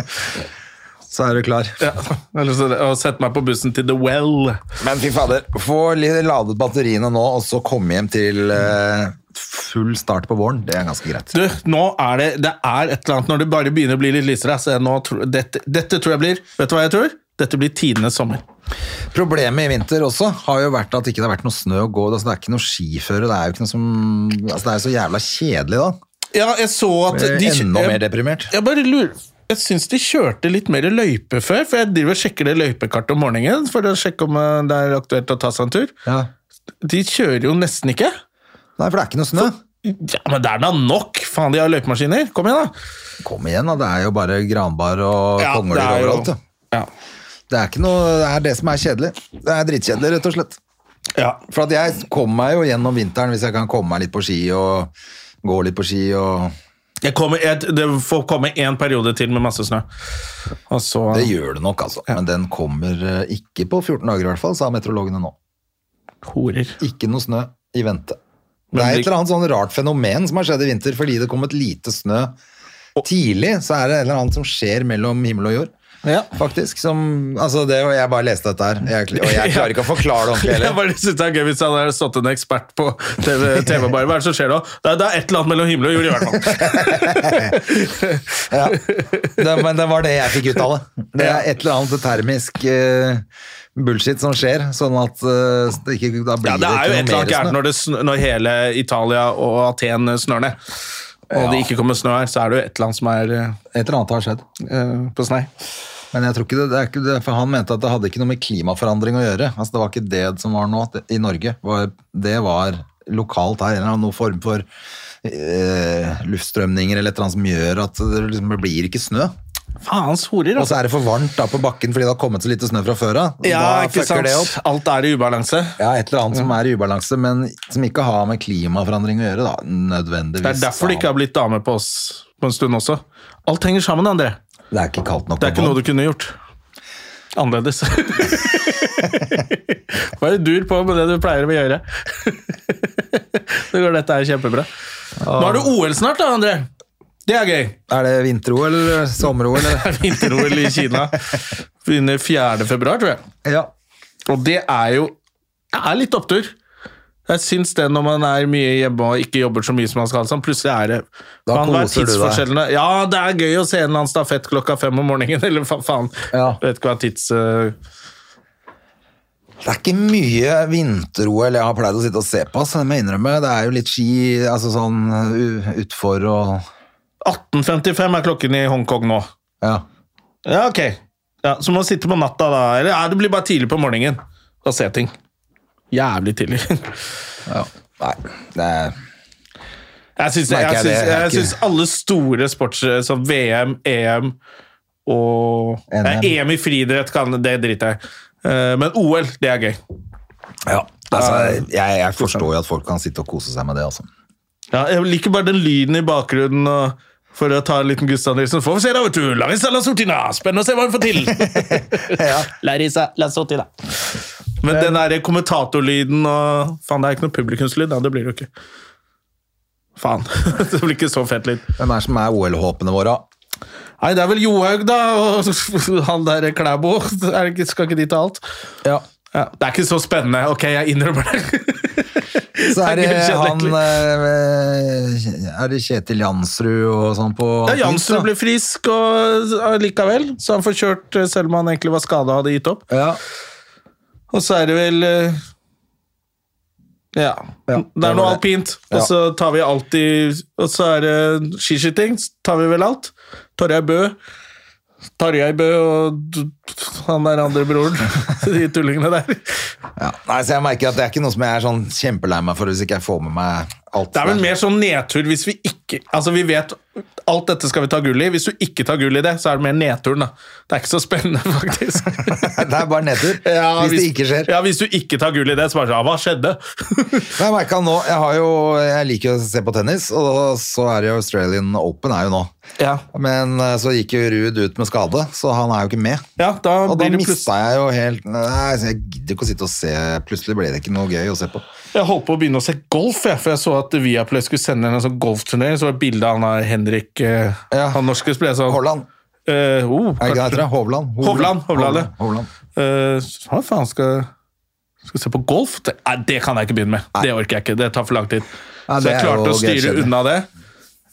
Speaker 2: Så er du klar.
Speaker 1: Ja, eller så, og sette meg på bussen til The Well.
Speaker 2: Men fy fader, få litt ladet batteriene nå, og så komme hjem til eh, full start på våren. Det er ganske greit.
Speaker 1: Du, nå er det, det er et eller annet Når det bare begynner å bli litt lysere så jeg nå tror, dette, dette tror jeg blir Vet du hva jeg tror? Dette blir tidenes sommer.
Speaker 2: Problemet i vinter også har jo vært at det ikke har vært noe snø å gå. Altså, det er ikke noe skiføre. Det er jo ikke noe som altså, Det er jo så jævla kjedelig da.
Speaker 1: Ja, jeg så at
Speaker 2: Blir
Speaker 1: Altså, de,
Speaker 2: Enda mer
Speaker 1: jeg,
Speaker 2: deprimert.
Speaker 1: jeg bare lurer Jeg syns de kjørte litt mer løype før, for jeg driver og sjekker det løypekartet om morgenen for å sjekke om eh, det er aktuelt å ta seg en tur.
Speaker 2: Ja.
Speaker 1: De kjører jo nesten ikke.
Speaker 2: Nei, for det er ikke noe snø.
Speaker 1: Ja, Men det er da nok! Faen, de har løypemaskiner. Kom igjen, da.
Speaker 2: Kom igjen, da. Det er jo bare granbar og
Speaker 1: Ja,
Speaker 2: kongler
Speaker 1: det er jo-
Speaker 2: overalt. Ja.
Speaker 1: Ja.
Speaker 2: Det er ikke noe Det er det som er kjedelig. Det er dritkjedelig, rett og slett.
Speaker 1: ja.
Speaker 2: For at jeg kommer meg jo gjennom vinteren hvis jeg kan komme meg litt på ski og gå litt på ski og
Speaker 1: Jeg kommer, jeg, det får komme én periode til med masse snø. Og så
Speaker 2: Det gjør det nok, altså. Men den kommer eh, ikke på 14 dager, i hvert fall, sa meteorologene nå.
Speaker 1: horer.
Speaker 2: Ikke noe snø i vente.
Speaker 1: Men
Speaker 2: Det er
Speaker 1: det-
Speaker 2: et eller annet sånn rart fenomen som har skjedd i vinter, fordi det kom et lite snø tidlig, så er det et eller annet som skjer mellom himmel og jord.
Speaker 1: Ja.
Speaker 2: Faktisk, som, altså det, og Jeg bare leste dette her, jeg, kl- og jeg klarer ikke å forklare det ordentlig
Speaker 1: Jeg
Speaker 2: heller.
Speaker 1: bare synes det er gøy hvis det hadde stått en ekspert på TV, TV bare, Hva er det som skjer nå? Det er, det er et eller annet mellom himmel og jord, i hvert fall.
Speaker 2: Ja. Det, men det var det jeg fikk ut av det. Det
Speaker 1: Ja.
Speaker 2: er et eller annet termisk eh, bullshit som skjer, sånn at eh, det ikke, da blir
Speaker 1: Ja, det er jo
Speaker 2: det ikke noe
Speaker 1: et eller annet gærent
Speaker 2: mer snø.
Speaker 1: når, det sn- når hele Italia og Aten snør ned. Og det ikke kommer snø her, så er det jo et eller annet som er eh,
Speaker 2: Et eller annet har skjedd.
Speaker 1: eh, på snei.
Speaker 2: Men jeg tror ikke det, det er ikke det, for han mente at det hadde ikke noe med klimaforandring å gjøre. Altså, det var ikke det som var nå det, i Norge. Var, det var lokalt her, en eller annen form for eh, luftstrømninger eller et eller annet som gjør at det liksom blir ikke snø.
Speaker 1: Faens horer,
Speaker 2: Og
Speaker 1: altså.
Speaker 2: så er det for varmt da på bakken fordi det har kommet så lite snø fra før av.
Speaker 1: Ja,
Speaker 2: da
Speaker 1: ikke
Speaker 2: fucker
Speaker 1: sant.
Speaker 2: det opp.
Speaker 1: Alt er i ubalanse.
Speaker 2: Ja, et eller annet som er i ubalanse, men som ikke har med klimaforandring å gjøre, da, nødvendigvis.
Speaker 1: Det er derfor det ikke har blitt dame på oss på en stund også. Alt henger sammen, André.
Speaker 2: Det er ikke kaldt nok.
Speaker 1: Det er ikke
Speaker 2: på
Speaker 1: noe du kunne gjort annerledes. Bare dur på med det du pleier å gjøre. Det går, dette er kjempebra. Nå er det OL snart, da, André. Det er gøy.
Speaker 2: Er det vinter-OL eller sommer-OL? eller?
Speaker 1: Vinter-OL i Kina begynner 4. februar, tror jeg.
Speaker 2: ja.
Speaker 1: Og det er jo det er litt opptur. Jeg syns det når man er mye hjemme og ikke jobber så mye som man skal. Sånn. Plutselig er det
Speaker 2: Da
Speaker 1: man er
Speaker 2: koser du deg.
Speaker 1: tidsforskjellene- Ja, det er gøy å se en eller annen stafett klokka fem om morgenen, eller fa faen.
Speaker 2: Ja.
Speaker 1: Jeg vet ikke hva tids... øh,
Speaker 2: Det er ikke mye vinter-OL jeg har pleid å sitte og se på, så jeg må innrømme. Det er jo litt ski, altså sånn u- utfor og
Speaker 1: 18.55 er klokken i Hongkong nå.
Speaker 2: Ja.
Speaker 1: Ja, ok. Ja, så må man sitte på natta da. Eller ja, det blir bare tidlig på morgenen og se ting. Jævlig tidlig.
Speaker 2: ja. Nei, det er
Speaker 1: Jeg syns, jeg,
Speaker 2: Merker jeg det,
Speaker 1: syns,
Speaker 2: jeg er
Speaker 1: jeg
Speaker 2: ikke-
Speaker 1: syns alle store sports eh, som VM, EM og
Speaker 2: NM.
Speaker 1: Nei, EM i friidrett, kan, det driter jeg i. Eh, Men OL, det er gøy.
Speaker 2: Ja. Altså, jeg, jeg forstår jo at folk kan sitte og kose seg med det, altså.
Speaker 1: Ja, jeg liker bare den lyden i bakgrunnen. og for å ta en liten Gustav Nilsen. Får vi se, da, vet du. Larissa Lasortina. Spennende å se hva hun får til. Larissa Lasortina. Men den der kommentatorlyden og Faen, det er ikke noe publikumslyd, da. Det blir det jo ikke. Faen. Det blir ikke så fet lyd.
Speaker 2: Hvem er det som er OL-håpene våre?
Speaker 1: Nei, det er vel Johaug, da, og han der Klæbo. Er det ikke, skal ikke de ta alt?
Speaker 2: Ja.
Speaker 1: Ja, det er ikke så spennende. Ok, jeg innrømmer det.
Speaker 2: Så er det
Speaker 1: Det er
Speaker 2: han
Speaker 1: gudskjelov.
Speaker 2: eh, Er det Kjetil Jansrud og sånn på
Speaker 1: Ja, Jansrud ble frisk og ja, likevel, så han får kjørt eh, selv om han egentlig var skada og hadde gitt opp.
Speaker 2: ja.
Speaker 1: Og så er det vel eh, Ja.
Speaker 2: Ja, det
Speaker 1: det er
Speaker 2: var
Speaker 1: noe
Speaker 2: det.
Speaker 1: alpint,
Speaker 2: Ja.
Speaker 1: og så tar vi alltid Og så er det skiskyting, så tar vi vel alt. Tarjei Bø. Tarjei Bø og d- han der andre broren. De tullingene der.
Speaker 2: Ja. Nei, så jeg merker at det er ikke noe som jeg er sånn kjempelei meg for hvis ikke jeg får med meg alt.
Speaker 1: Det er vel mer sånn nedtur hvis vi ikke Altså, vi vet alt dette skal vi ta gull i. Hvis du ikke tar gull i det, så er det mer nedturen, da. Det er ikke så spennende, faktisk.
Speaker 2: Det er bare nedtur.
Speaker 1: Ja,
Speaker 2: hvis, det ikke skjer.
Speaker 1: Ja, hvis du ikke tar gull i det, så bare sånn, ja, Hva skjedde?
Speaker 2: Men Jeg merket nå, jeg, har jo, jeg liker jo å se på tennis, og så er det jo Australian Open er jo nå.
Speaker 1: ja.
Speaker 2: Men eh, så gikk jo Ruud ut med skade, så han er jo ikke med.
Speaker 1: ja, da
Speaker 2: Og da
Speaker 1: blir det plutselig
Speaker 2: mista jeg jo helt Nei, så jeg gidder ikke å sitte og se. Plutselig ble det ikke noe gøy å se på.
Speaker 1: Jeg holdt på å begynne å se golf, jeg, for jeg så at Viaplay skulle sende en sånn golfturnering. Så var det bilde av han der Henrik eh,
Speaker 2: Ja.
Speaker 1: Han norske spiller sånn
Speaker 2: Haaland.
Speaker 1: Eh, oh,
Speaker 2: Er det ikke det han heter? Hovland?
Speaker 1: Hovland, Hovland, ja.
Speaker 2: Hovland.
Speaker 1: Eh, så hva faen skal Skal se på golf? Det, nei, det kan jeg ikke begynne med. Det orker jeg ikke. Det tar for lang tid.
Speaker 2: Nei,
Speaker 1: så
Speaker 2: det
Speaker 1: jeg
Speaker 2: er jo
Speaker 1: klarte å styre
Speaker 2: grenskjedelig.
Speaker 1: unna det.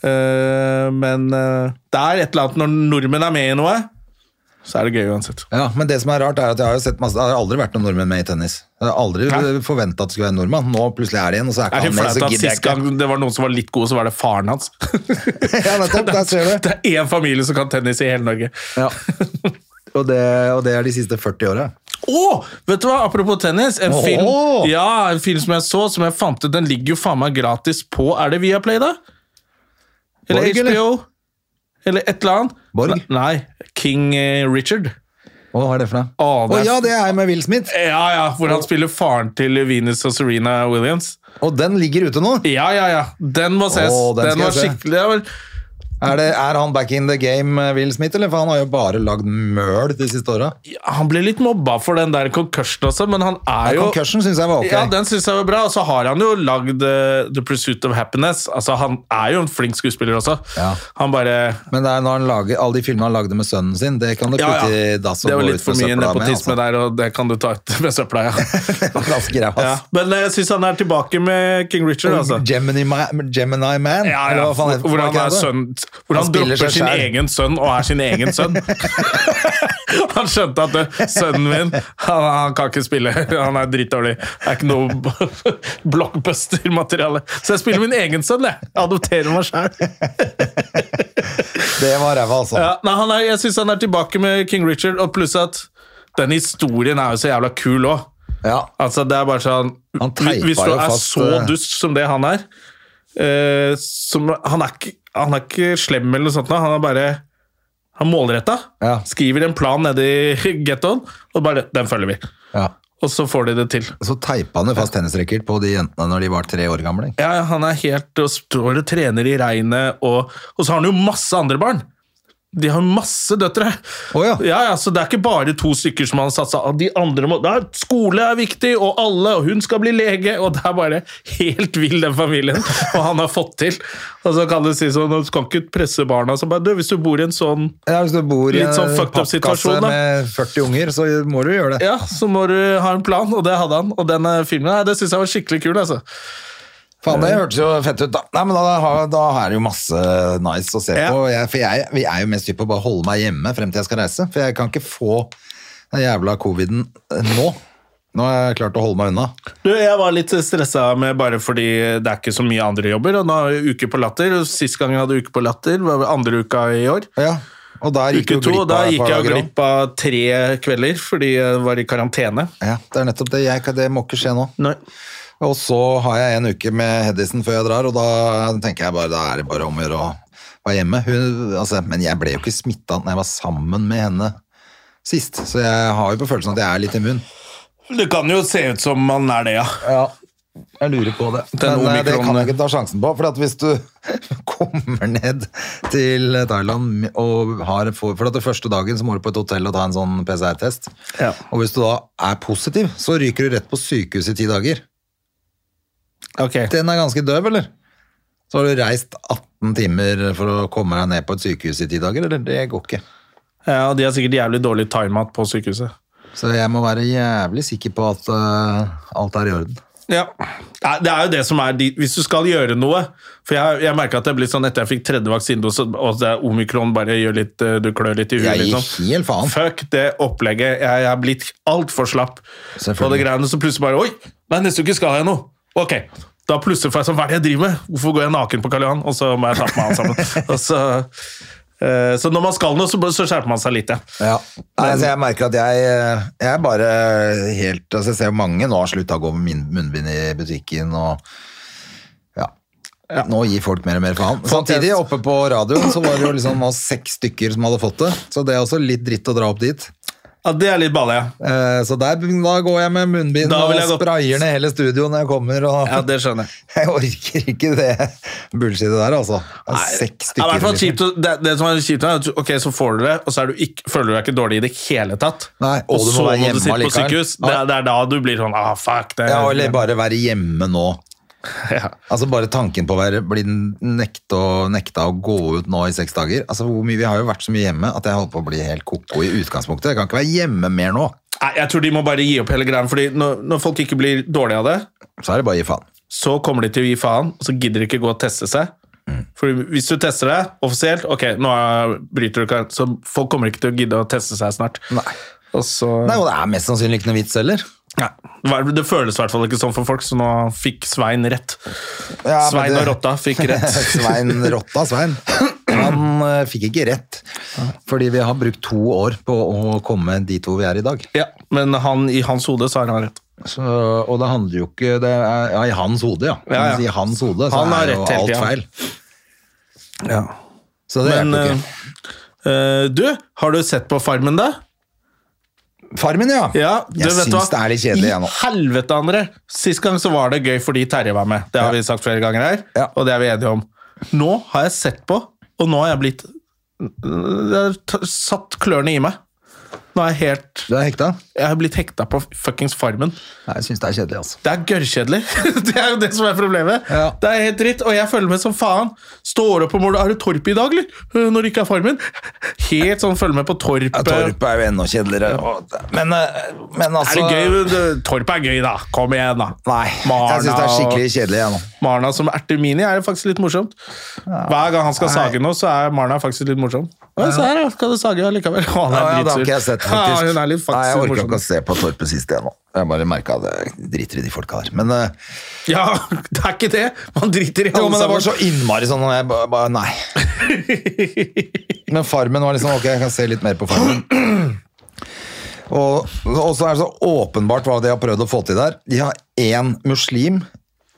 Speaker 1: Eh, men eh, det er et eller annet når nordmenn er med i noe, så er det gøy uansett.
Speaker 2: Ja, men det som er rart er at jeg har jo sett masse, det har aldri vært noen nordmenn med i tennis. Jeg har aldri
Speaker 1: Nei.
Speaker 2: forventet at det skulle være en nordmann. Nå plutselig er det en, og så er
Speaker 1: Det
Speaker 2: ikke
Speaker 1: er
Speaker 2: han
Speaker 1: litt
Speaker 2: med,
Speaker 1: flaut
Speaker 2: så
Speaker 1: at
Speaker 2: gidder jeg
Speaker 1: sist
Speaker 2: ikke.
Speaker 1: gang det var noen som var litt gode, så var det faren hans.
Speaker 2: Ja, nettopp, der ser du.
Speaker 1: Det er én familie som kan tennis i hele Norge.
Speaker 2: Ja. Og det, og det er de siste 40 åra.
Speaker 1: Å! vet du hva, apropos tennis. En,
Speaker 2: Åh!
Speaker 1: film, ja, en film som jeg så, som jeg fant ut, den ligger jo faen meg gratis på Er det Viaplay, da? Eller
Speaker 2: Borg, eller?
Speaker 1: HBO? Eller et eller annet?
Speaker 2: Borg?
Speaker 1: Nei, King eh, Richard.
Speaker 2: Hva er det for noe? Å
Speaker 1: Å, det er-
Speaker 2: ja, det er med Will Smith!
Speaker 1: Ja, ja, hvor han spiller faren til Venus og Serena Williams.
Speaker 2: Og den ligger ute nå!
Speaker 1: Ja, ja, ja. Den må ses.
Speaker 2: Åh, den
Speaker 1: den
Speaker 2: skal
Speaker 1: var
Speaker 2: jeg se.
Speaker 1: skikkelig det var-
Speaker 2: Er, det, er han back in the game, eh, Will Smith, eller? For han har jo bare lagd møl de siste åra.
Speaker 1: ja, Han ble litt mobba for den der concussion også, men han er jo
Speaker 2: Concussion syns jeg var ok.
Speaker 1: Ja, den synes jeg var bra. Og så har han jo lagd eh, The Pursuit of Happiness. Altså, Han er jo en flink skuespiller også.
Speaker 2: Ja.
Speaker 1: Han bare
Speaker 2: Men det er når han lager, alle de filmene han lagde med sønnen sin, det kan du
Speaker 1: ja,
Speaker 2: putte i
Speaker 1: ja.
Speaker 2: dass
Speaker 1: Det
Speaker 2: og
Speaker 1: var
Speaker 2: gå ut
Speaker 1: litt for
Speaker 2: med altså.
Speaker 1: mye
Speaker 2: søpla med.
Speaker 1: nepotisme der, og det kan du ta ut med søpla, ja.
Speaker 2: altså. Ganske greit,
Speaker 1: ja.
Speaker 2: ass.
Speaker 1: Men eh, jeg syns han er tilbake med King Richard, altså.
Speaker 2: Gemini, Ma- Gemini Man?
Speaker 1: Ja,
Speaker 2: eller
Speaker 1: ja.
Speaker 2: hva faen heter-
Speaker 1: Hvor
Speaker 2: var
Speaker 1: han
Speaker 2: ikke
Speaker 1: er
Speaker 2: det?
Speaker 1: sønn Hvor
Speaker 2: Han
Speaker 1: han,
Speaker 2: spiller
Speaker 1: dropper
Speaker 2: seg
Speaker 1: sin
Speaker 2: selv.
Speaker 1: egen sønn og er sin egen sønn. han skjønte at det, sønnen min han, han kan ikke spille, han er drittdårlig. Det er ikke noe b- blockbuster-materiale. Så jeg spiller min egen sønn, jeg. Jeg adopterer meg sjæl.
Speaker 2: Det var ræva, altså.
Speaker 1: Ja, nei, han er- jeg syns han er tilbake med King Richard, og pluss at den historien er jo så jævla kul òg.
Speaker 2: Ja.
Speaker 1: Altså, det er bare sånn
Speaker 2: Han teipa
Speaker 1: Hvis du
Speaker 2: jo
Speaker 1: er
Speaker 2: fast,
Speaker 1: så
Speaker 2: eh,
Speaker 1: dust som det han er eh, som, han, er ikke, han er ikke slem eller noe sånt, nå, han er bare Han målretta.
Speaker 2: Ja.
Speaker 1: Skriver en plan nede i gettoen, og bare Den følger vi.
Speaker 2: Ja.
Speaker 1: Og så får de det til.
Speaker 2: Så teipa han jo fast tennisracket på de jentene når de var tre år gamle.
Speaker 1: Ja, ja, han er helt og står og trener i regnet, og, og så har han jo masse andre barn. De har masse døtre.
Speaker 2: Å ja.
Speaker 1: Ja, ja, så det er ikke bare to stykker som han satsa av. De andre må, Nei, skole er viktig, og alle, og hun skal bli lege, og det er bare helt vill, den familien. Og han har fått til. Og så kan du si sånn, du kan ikke presse barna. Så bare, du, hvis du bor i en sånn
Speaker 2: Ja, Hvis du bor i
Speaker 1: Litt sånn
Speaker 2: en
Speaker 1: fucked up
Speaker 2: pappkasse
Speaker 1: situasjon, da.
Speaker 2: med 40 unger, så må du gjøre det.
Speaker 1: ja, så må du ha en plan, og det hadde han. Og den eh, filmen her, det syns jeg var skikkelig kul. altså.
Speaker 2: Faen,
Speaker 1: Eh.
Speaker 2: det hørtes jo fett ut, da. Nei, men da, har- da er det jo masse nice å se
Speaker 1: Ja.
Speaker 2: på. Jeg, for jeg, vi er jo mest hypp på å bare holde meg hjemme frem til jeg skal reise. For jeg kan ikke få den jævla coviden eh, nå. Nå har jeg klart å holde meg unna.
Speaker 1: Du, Jeg var litt stressa med bare fordi det er ikke så mye andre jobber. og nå er det Uke på latter. og Sist gang jeg hadde Uke på latter, var vel andre uka i år.
Speaker 2: Ja, og der gikk du
Speaker 1: Uke to,
Speaker 2: glipp
Speaker 1: og Da
Speaker 2: av et
Speaker 1: gikk
Speaker 2: par
Speaker 1: jeg jo
Speaker 2: dager også.
Speaker 1: glipp av tre kvelder fordi jeg var i karantene.
Speaker 2: Ja, det er nettopp det. Jeg, kan- det må ikke skje nå.
Speaker 1: Nei.
Speaker 2: Og så har jeg en uke med Hedisen før jeg drar, og da tenker jeg bare da er det bare om å gjøre å være hjemme. Hun, altså, men jeg ble jo ikke smitta når jeg var sammen med henne sist, så jeg har jo på følelsen at jeg er litt immun.
Speaker 1: Det kan jo se ut som man er det, ja.
Speaker 2: Ja, jeg lurer på det.
Speaker 1: Den
Speaker 2: Men eh, det
Speaker 1: omikronen-
Speaker 2: kan jeg ikke ta sjansen på, for at hvis du kommer ned til Thailand og har For for at det første dagen så må du på et hotell og ta en sånn PCR-test.
Speaker 1: Ja.
Speaker 2: Og hvis du da er positiv, så ryker du rett på sykehus i ti dager.
Speaker 1: Ok.
Speaker 2: Den er ganske døv, eller? Så har du reist 18 timer for å komme deg ned på et sykehus i ti dager, eller? Det går ikke.
Speaker 1: Ja, og De har sikkert jævlig dårlig timeout på sykehuset.
Speaker 2: Så jeg må være jævlig sikker på at øh, alt er i orden.
Speaker 1: Ja. Nei, Det er jo det som er de, Hvis du skal gjøre noe For jeg, jeg merka at det blir sånn etter jeg fikk tredje vaksinedose, og det er omikron bare gjør litt eh, Du klør litt i huet,
Speaker 2: Jeg gir
Speaker 1: liksom.
Speaker 2: helt faen.
Speaker 1: Fuck det opplegget. Jeg, jeg er blitt altfor slapp på det
Speaker 2: Selvfølgelig.
Speaker 1: greiene. Så plutselig bare Oi! Nei, neste uke skal jeg noe. Ok. Da plutselig får jeg sånn Hva er det jeg driver med? Hvorfor går jeg naken på Karl Johan? Og så må jeg ta på meg alt sammen. og så, eh, så når man skal noe, så, bør- så skjerper man seg litt, ja.
Speaker 2: Ja. Nei, altså jeg merker at jeg, øh, jeg er bare helt altså Jeg ser jo mange nå har slutta å gå med min- munnbind i butikken og ja. Nå gir folk mer og mer faen. Samtidig, oppe på radioen så var det jo liksom nå seks stykker som hadde fått det, så det er også litt dritt å dra opp dit.
Speaker 1: ja det er litt balle, ja.
Speaker 2: Eh, Så der, da går jeg med munnbind
Speaker 1: Da
Speaker 2: og
Speaker 1: vil jeg gå-
Speaker 2: sprayer ned hele studioet når jeg kommer. Og...
Speaker 1: ja. Det skjønner jeg.
Speaker 2: Jeg orker ikke det bullshitet der, altså. Det er Seks
Speaker 1: Ja, i
Speaker 2: stykker.
Speaker 1: hvert fall
Speaker 2: liksom.
Speaker 1: kjipt, å- det, det som er kjipt, er at du- ok, så får du det, og så er du ikke, føler du deg ikke dårlig i det hele tatt.
Speaker 2: Nei, og
Speaker 1: og
Speaker 2: du må
Speaker 1: så må
Speaker 2: være hjemme
Speaker 1: du sitte på
Speaker 2: allikevel.
Speaker 1: sykehus. Det, er- det er da du blir sånn ah, fuck det.
Speaker 2: Ja, eller bare være hjemme nå.
Speaker 1: Ja.
Speaker 2: Altså Bare tanken på å være, bli nekta, nekta å gå ut nå i seks dager Altså hvor mye, Vi har jo vært så mye hjemme at jeg holdt på å bli helt koko i utgangspunktet. Jeg kan ikke være hjemme mer nå.
Speaker 1: Nei, jeg tror de må bare gi opp hele greia, fordi når, når folk ikke blir dårlige av det,
Speaker 2: Så er det bare å gi faen.
Speaker 1: så kommer de til å gi faen, og så gidder de ikke gå og teste seg.
Speaker 2: Mm.
Speaker 1: For hvis du tester deg offisielt, ok, nå er- bryter du ikke, så folk kommer ikke til å gidde å teste seg snart.
Speaker 2: Nei.
Speaker 1: Og så,
Speaker 2: Nei, Og det er mest sannsynlig ikke noe vits heller.
Speaker 1: Nei. Det føles i hvert fall ikke sånn for folk, så nå fikk Svein rett.
Speaker 2: Ja, men
Speaker 1: Svein
Speaker 2: det-
Speaker 1: og Rotta fikk rett.
Speaker 2: Svein Rotta, Svein. Han eh, fikk ikke rett, fordi vi har brukt to år på å komme dit hvor vi er i dag.
Speaker 1: Ja, men han, i hans hode så har han rett.
Speaker 2: Så, og det handler jo ikke det er, Ja, i hans hode, ja.
Speaker 1: Ja, ja.
Speaker 2: Men I hans hode så
Speaker 1: Han
Speaker 2: er
Speaker 1: har
Speaker 2: jo
Speaker 1: rett hele
Speaker 2: alt
Speaker 1: tiden.
Speaker 2: feil. Så det
Speaker 1: Men
Speaker 2: hjelper jo ikke.
Speaker 1: eh, eh, du, har du sett på Farmen, da?
Speaker 2: Farmen, ja.
Speaker 1: Ja, du
Speaker 2: jeg
Speaker 1: vet
Speaker 2: syns
Speaker 1: hva?
Speaker 2: det er litt kjedelig, jeg nå.
Speaker 1: I helvete, André! Sist gang så var det gøy fordi Terje var med. Det
Speaker 2: Ja.
Speaker 1: har vi sagt flere ganger her,
Speaker 2: Ja.
Speaker 1: og det er vi enige om. Nå har jeg sett på, og nå har jeg blitt Det har t- satt klørne i meg. Nå er jeg helt
Speaker 2: Du er hekta?
Speaker 1: Jeg har blitt hekta på fuckings Farmen.
Speaker 2: Nei, jeg syns det er kjedelig, altså.
Speaker 1: Det er gørrkjedelig. det er jo det som er problemet.
Speaker 2: Ja.
Speaker 1: Det er helt dritt, og jeg følger med som faen. Står opp på morgenen Er det Torp i dag, eller? Øh, Når det ikke er Farmen. Helt sånn følger med på Torp.
Speaker 2: Ja, Torp er jo enda kjedeligere. og- Men, eh, men
Speaker 1: Er
Speaker 2: altså
Speaker 1: det gøy? Det- Torp er gøy, da. Kom igjen, da.
Speaker 2: Nei, jeg syns det er skikkelig kjedelig, jeg nå.
Speaker 1: Marna som ertemini er jo faktisk litt morsomt. Hver gang han skal sage noe, så er Marna faktisk litt morsom. Ja, se her, da. Skal du sage allikevel? Å, han er
Speaker 2: Ja, ja, det har
Speaker 1: dritsur.
Speaker 2: ikke jeg sett, faktisk.
Speaker 1: Ja, hun er litt faktisk
Speaker 2: Nei, jeg orker
Speaker 1: morsom.
Speaker 2: ikke å se på Torp det siste, jeg nå. Jeg bare merka det. Jeg Driter i de folka der. Men eh,
Speaker 1: Ja, det er ikke det. Man driter i
Speaker 2: Jo, men det var
Speaker 1: sammen.
Speaker 2: så innmari sånn, og jeg bare, bare nei. Men Farmen var liksom, ok, jeg kan se litt mer på Farmen. Og, og så er det så åpenbart hva de har prøvd å få til der. De har én muslim,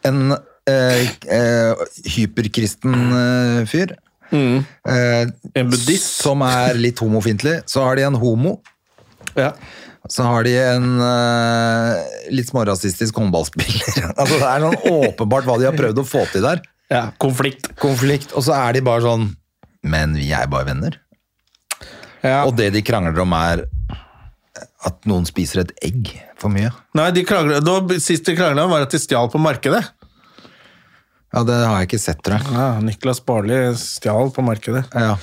Speaker 2: en eh, eh, hyperkristen eh, fyr, Eh,
Speaker 1: Mm. En buddhist.
Speaker 2: Som er litt homofiendtlig. Så har de en homo.
Speaker 1: Ja.
Speaker 2: Så har de en eh, litt smårasistisk håndballspiller. altså, det er noen åpenbart hva de har prøvd å få til der.
Speaker 1: ja. Konflikt.
Speaker 2: Konflikt. Og så er de bare sånn Men vi er bare venner.
Speaker 1: Ja.
Speaker 2: Og det de krangler om, er at noen spiser et egg for mye.
Speaker 1: Nei, de krangler, da, Sist de krangla, var at de stjal på markedet.
Speaker 2: Ja, det har jeg ikke sett, tror jeg.
Speaker 1: Ja, Niklas Barli stjal på markedet.
Speaker 2: Ja.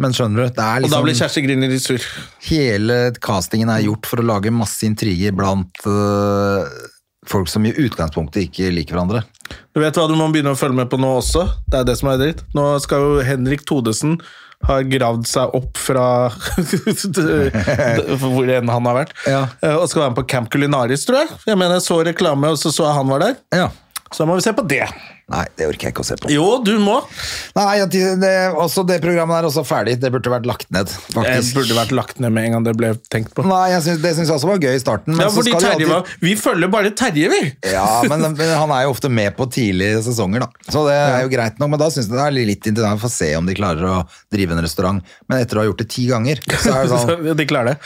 Speaker 2: Men skjønner du, det er
Speaker 1: Og da
Speaker 2: liksom
Speaker 1: ble Kjersti Griner litt sur.
Speaker 2: Hele castingen er gjort for å lage masse intriger blant øh, folk som i utgangspunktet ikke liker hverandre.
Speaker 1: Du vet hva du må begynne å følge med på nå også? Det er det som er dritt. Nå skal jo Henrik Todesen ha gravd seg opp fra hvor enn han har vært,
Speaker 2: Ja.
Speaker 1: Eh, og skal være med på Camp Culinaris, tror jeg. Jeg mener, jeg så reklame, og så så jeg han var der.
Speaker 2: Ja.
Speaker 1: Så da må vi se på det.
Speaker 2: Nei, det orker jeg ikke å se på.
Speaker 1: Jo, du må.
Speaker 2: Nei, at de- det, også det programmet er også ferdig. Det burde vært lagt ned,
Speaker 1: Jeg
Speaker 2: faktisk.
Speaker 1: burde vært lagt ned med en gang det ble tenkt på.
Speaker 2: Nei, jeg synes, det syns jeg også var gøy i starten. Men
Speaker 1: Ja,
Speaker 2: så
Speaker 1: fordi
Speaker 2: skal de
Speaker 1: Terje
Speaker 2: alltid-
Speaker 1: var Vi følger bare Terje, vi!
Speaker 2: Ja, men men han er jo ofte med på tidlige sesonger, da. Så det er jo greit nok, men da syns jeg det er litt interessant for å se om de klarer å drive en restaurant. Men etter å ha gjort det ti ganger, så er det sånn
Speaker 1: Så de klarer det.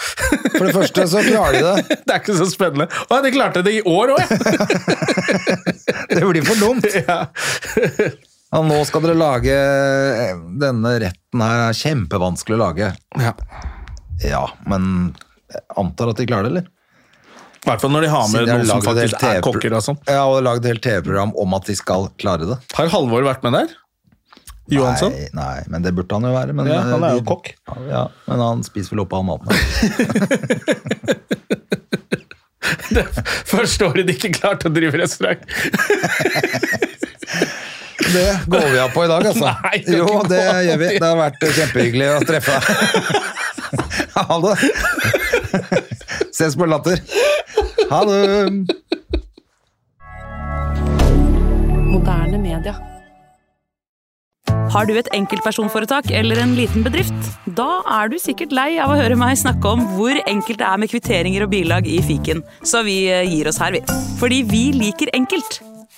Speaker 2: For det første så klarer de det.
Speaker 1: Det er ikke så spennende. Å, de klarte det i år òg,
Speaker 2: Det blir for dumt.
Speaker 1: ja.
Speaker 2: Ja, nå skal dere lage Denne retten her er kjempevanskelig å lage.
Speaker 1: ja.
Speaker 2: Ja, men jeg antar at de klarer det, eller?
Speaker 1: I hvert fall når de har med
Speaker 2: Siden de har
Speaker 1: noen som
Speaker 2: laget et
Speaker 1: faktisk er
Speaker 2: TV
Speaker 1: kokker og sånn.
Speaker 2: Ja, og lagd et helt TV-program om at de skal klare det.
Speaker 1: Har Halvor vært med der? Johansson?
Speaker 2: Nei, nei, men det burde han jo være. Men, eh,
Speaker 1: Ja, han er jo
Speaker 2: de-
Speaker 1: kokk.
Speaker 2: Ja, men han spiser vel opp all maten.
Speaker 1: Første året de ikke klarte å drive restaurant.
Speaker 2: Det går vi av på i dag, altså.
Speaker 1: Nei, det kan
Speaker 2: jo,
Speaker 1: ikke
Speaker 2: det
Speaker 1: gå av
Speaker 2: gjør vi.
Speaker 1: i-
Speaker 2: Det har vært kjempehyggelig å treffe deg. Ha det. Ses på Latter. Ha det.
Speaker 4: Moderne media.
Speaker 5: Har du et enkeltpersonforetak eller en liten bedrift? Da er du sikkert lei av å høre meg snakke om hvor enkelt det er med kvitteringer og bilag i fiken, så vi eh, gir oss her, vi. Fordi vi liker enkelt.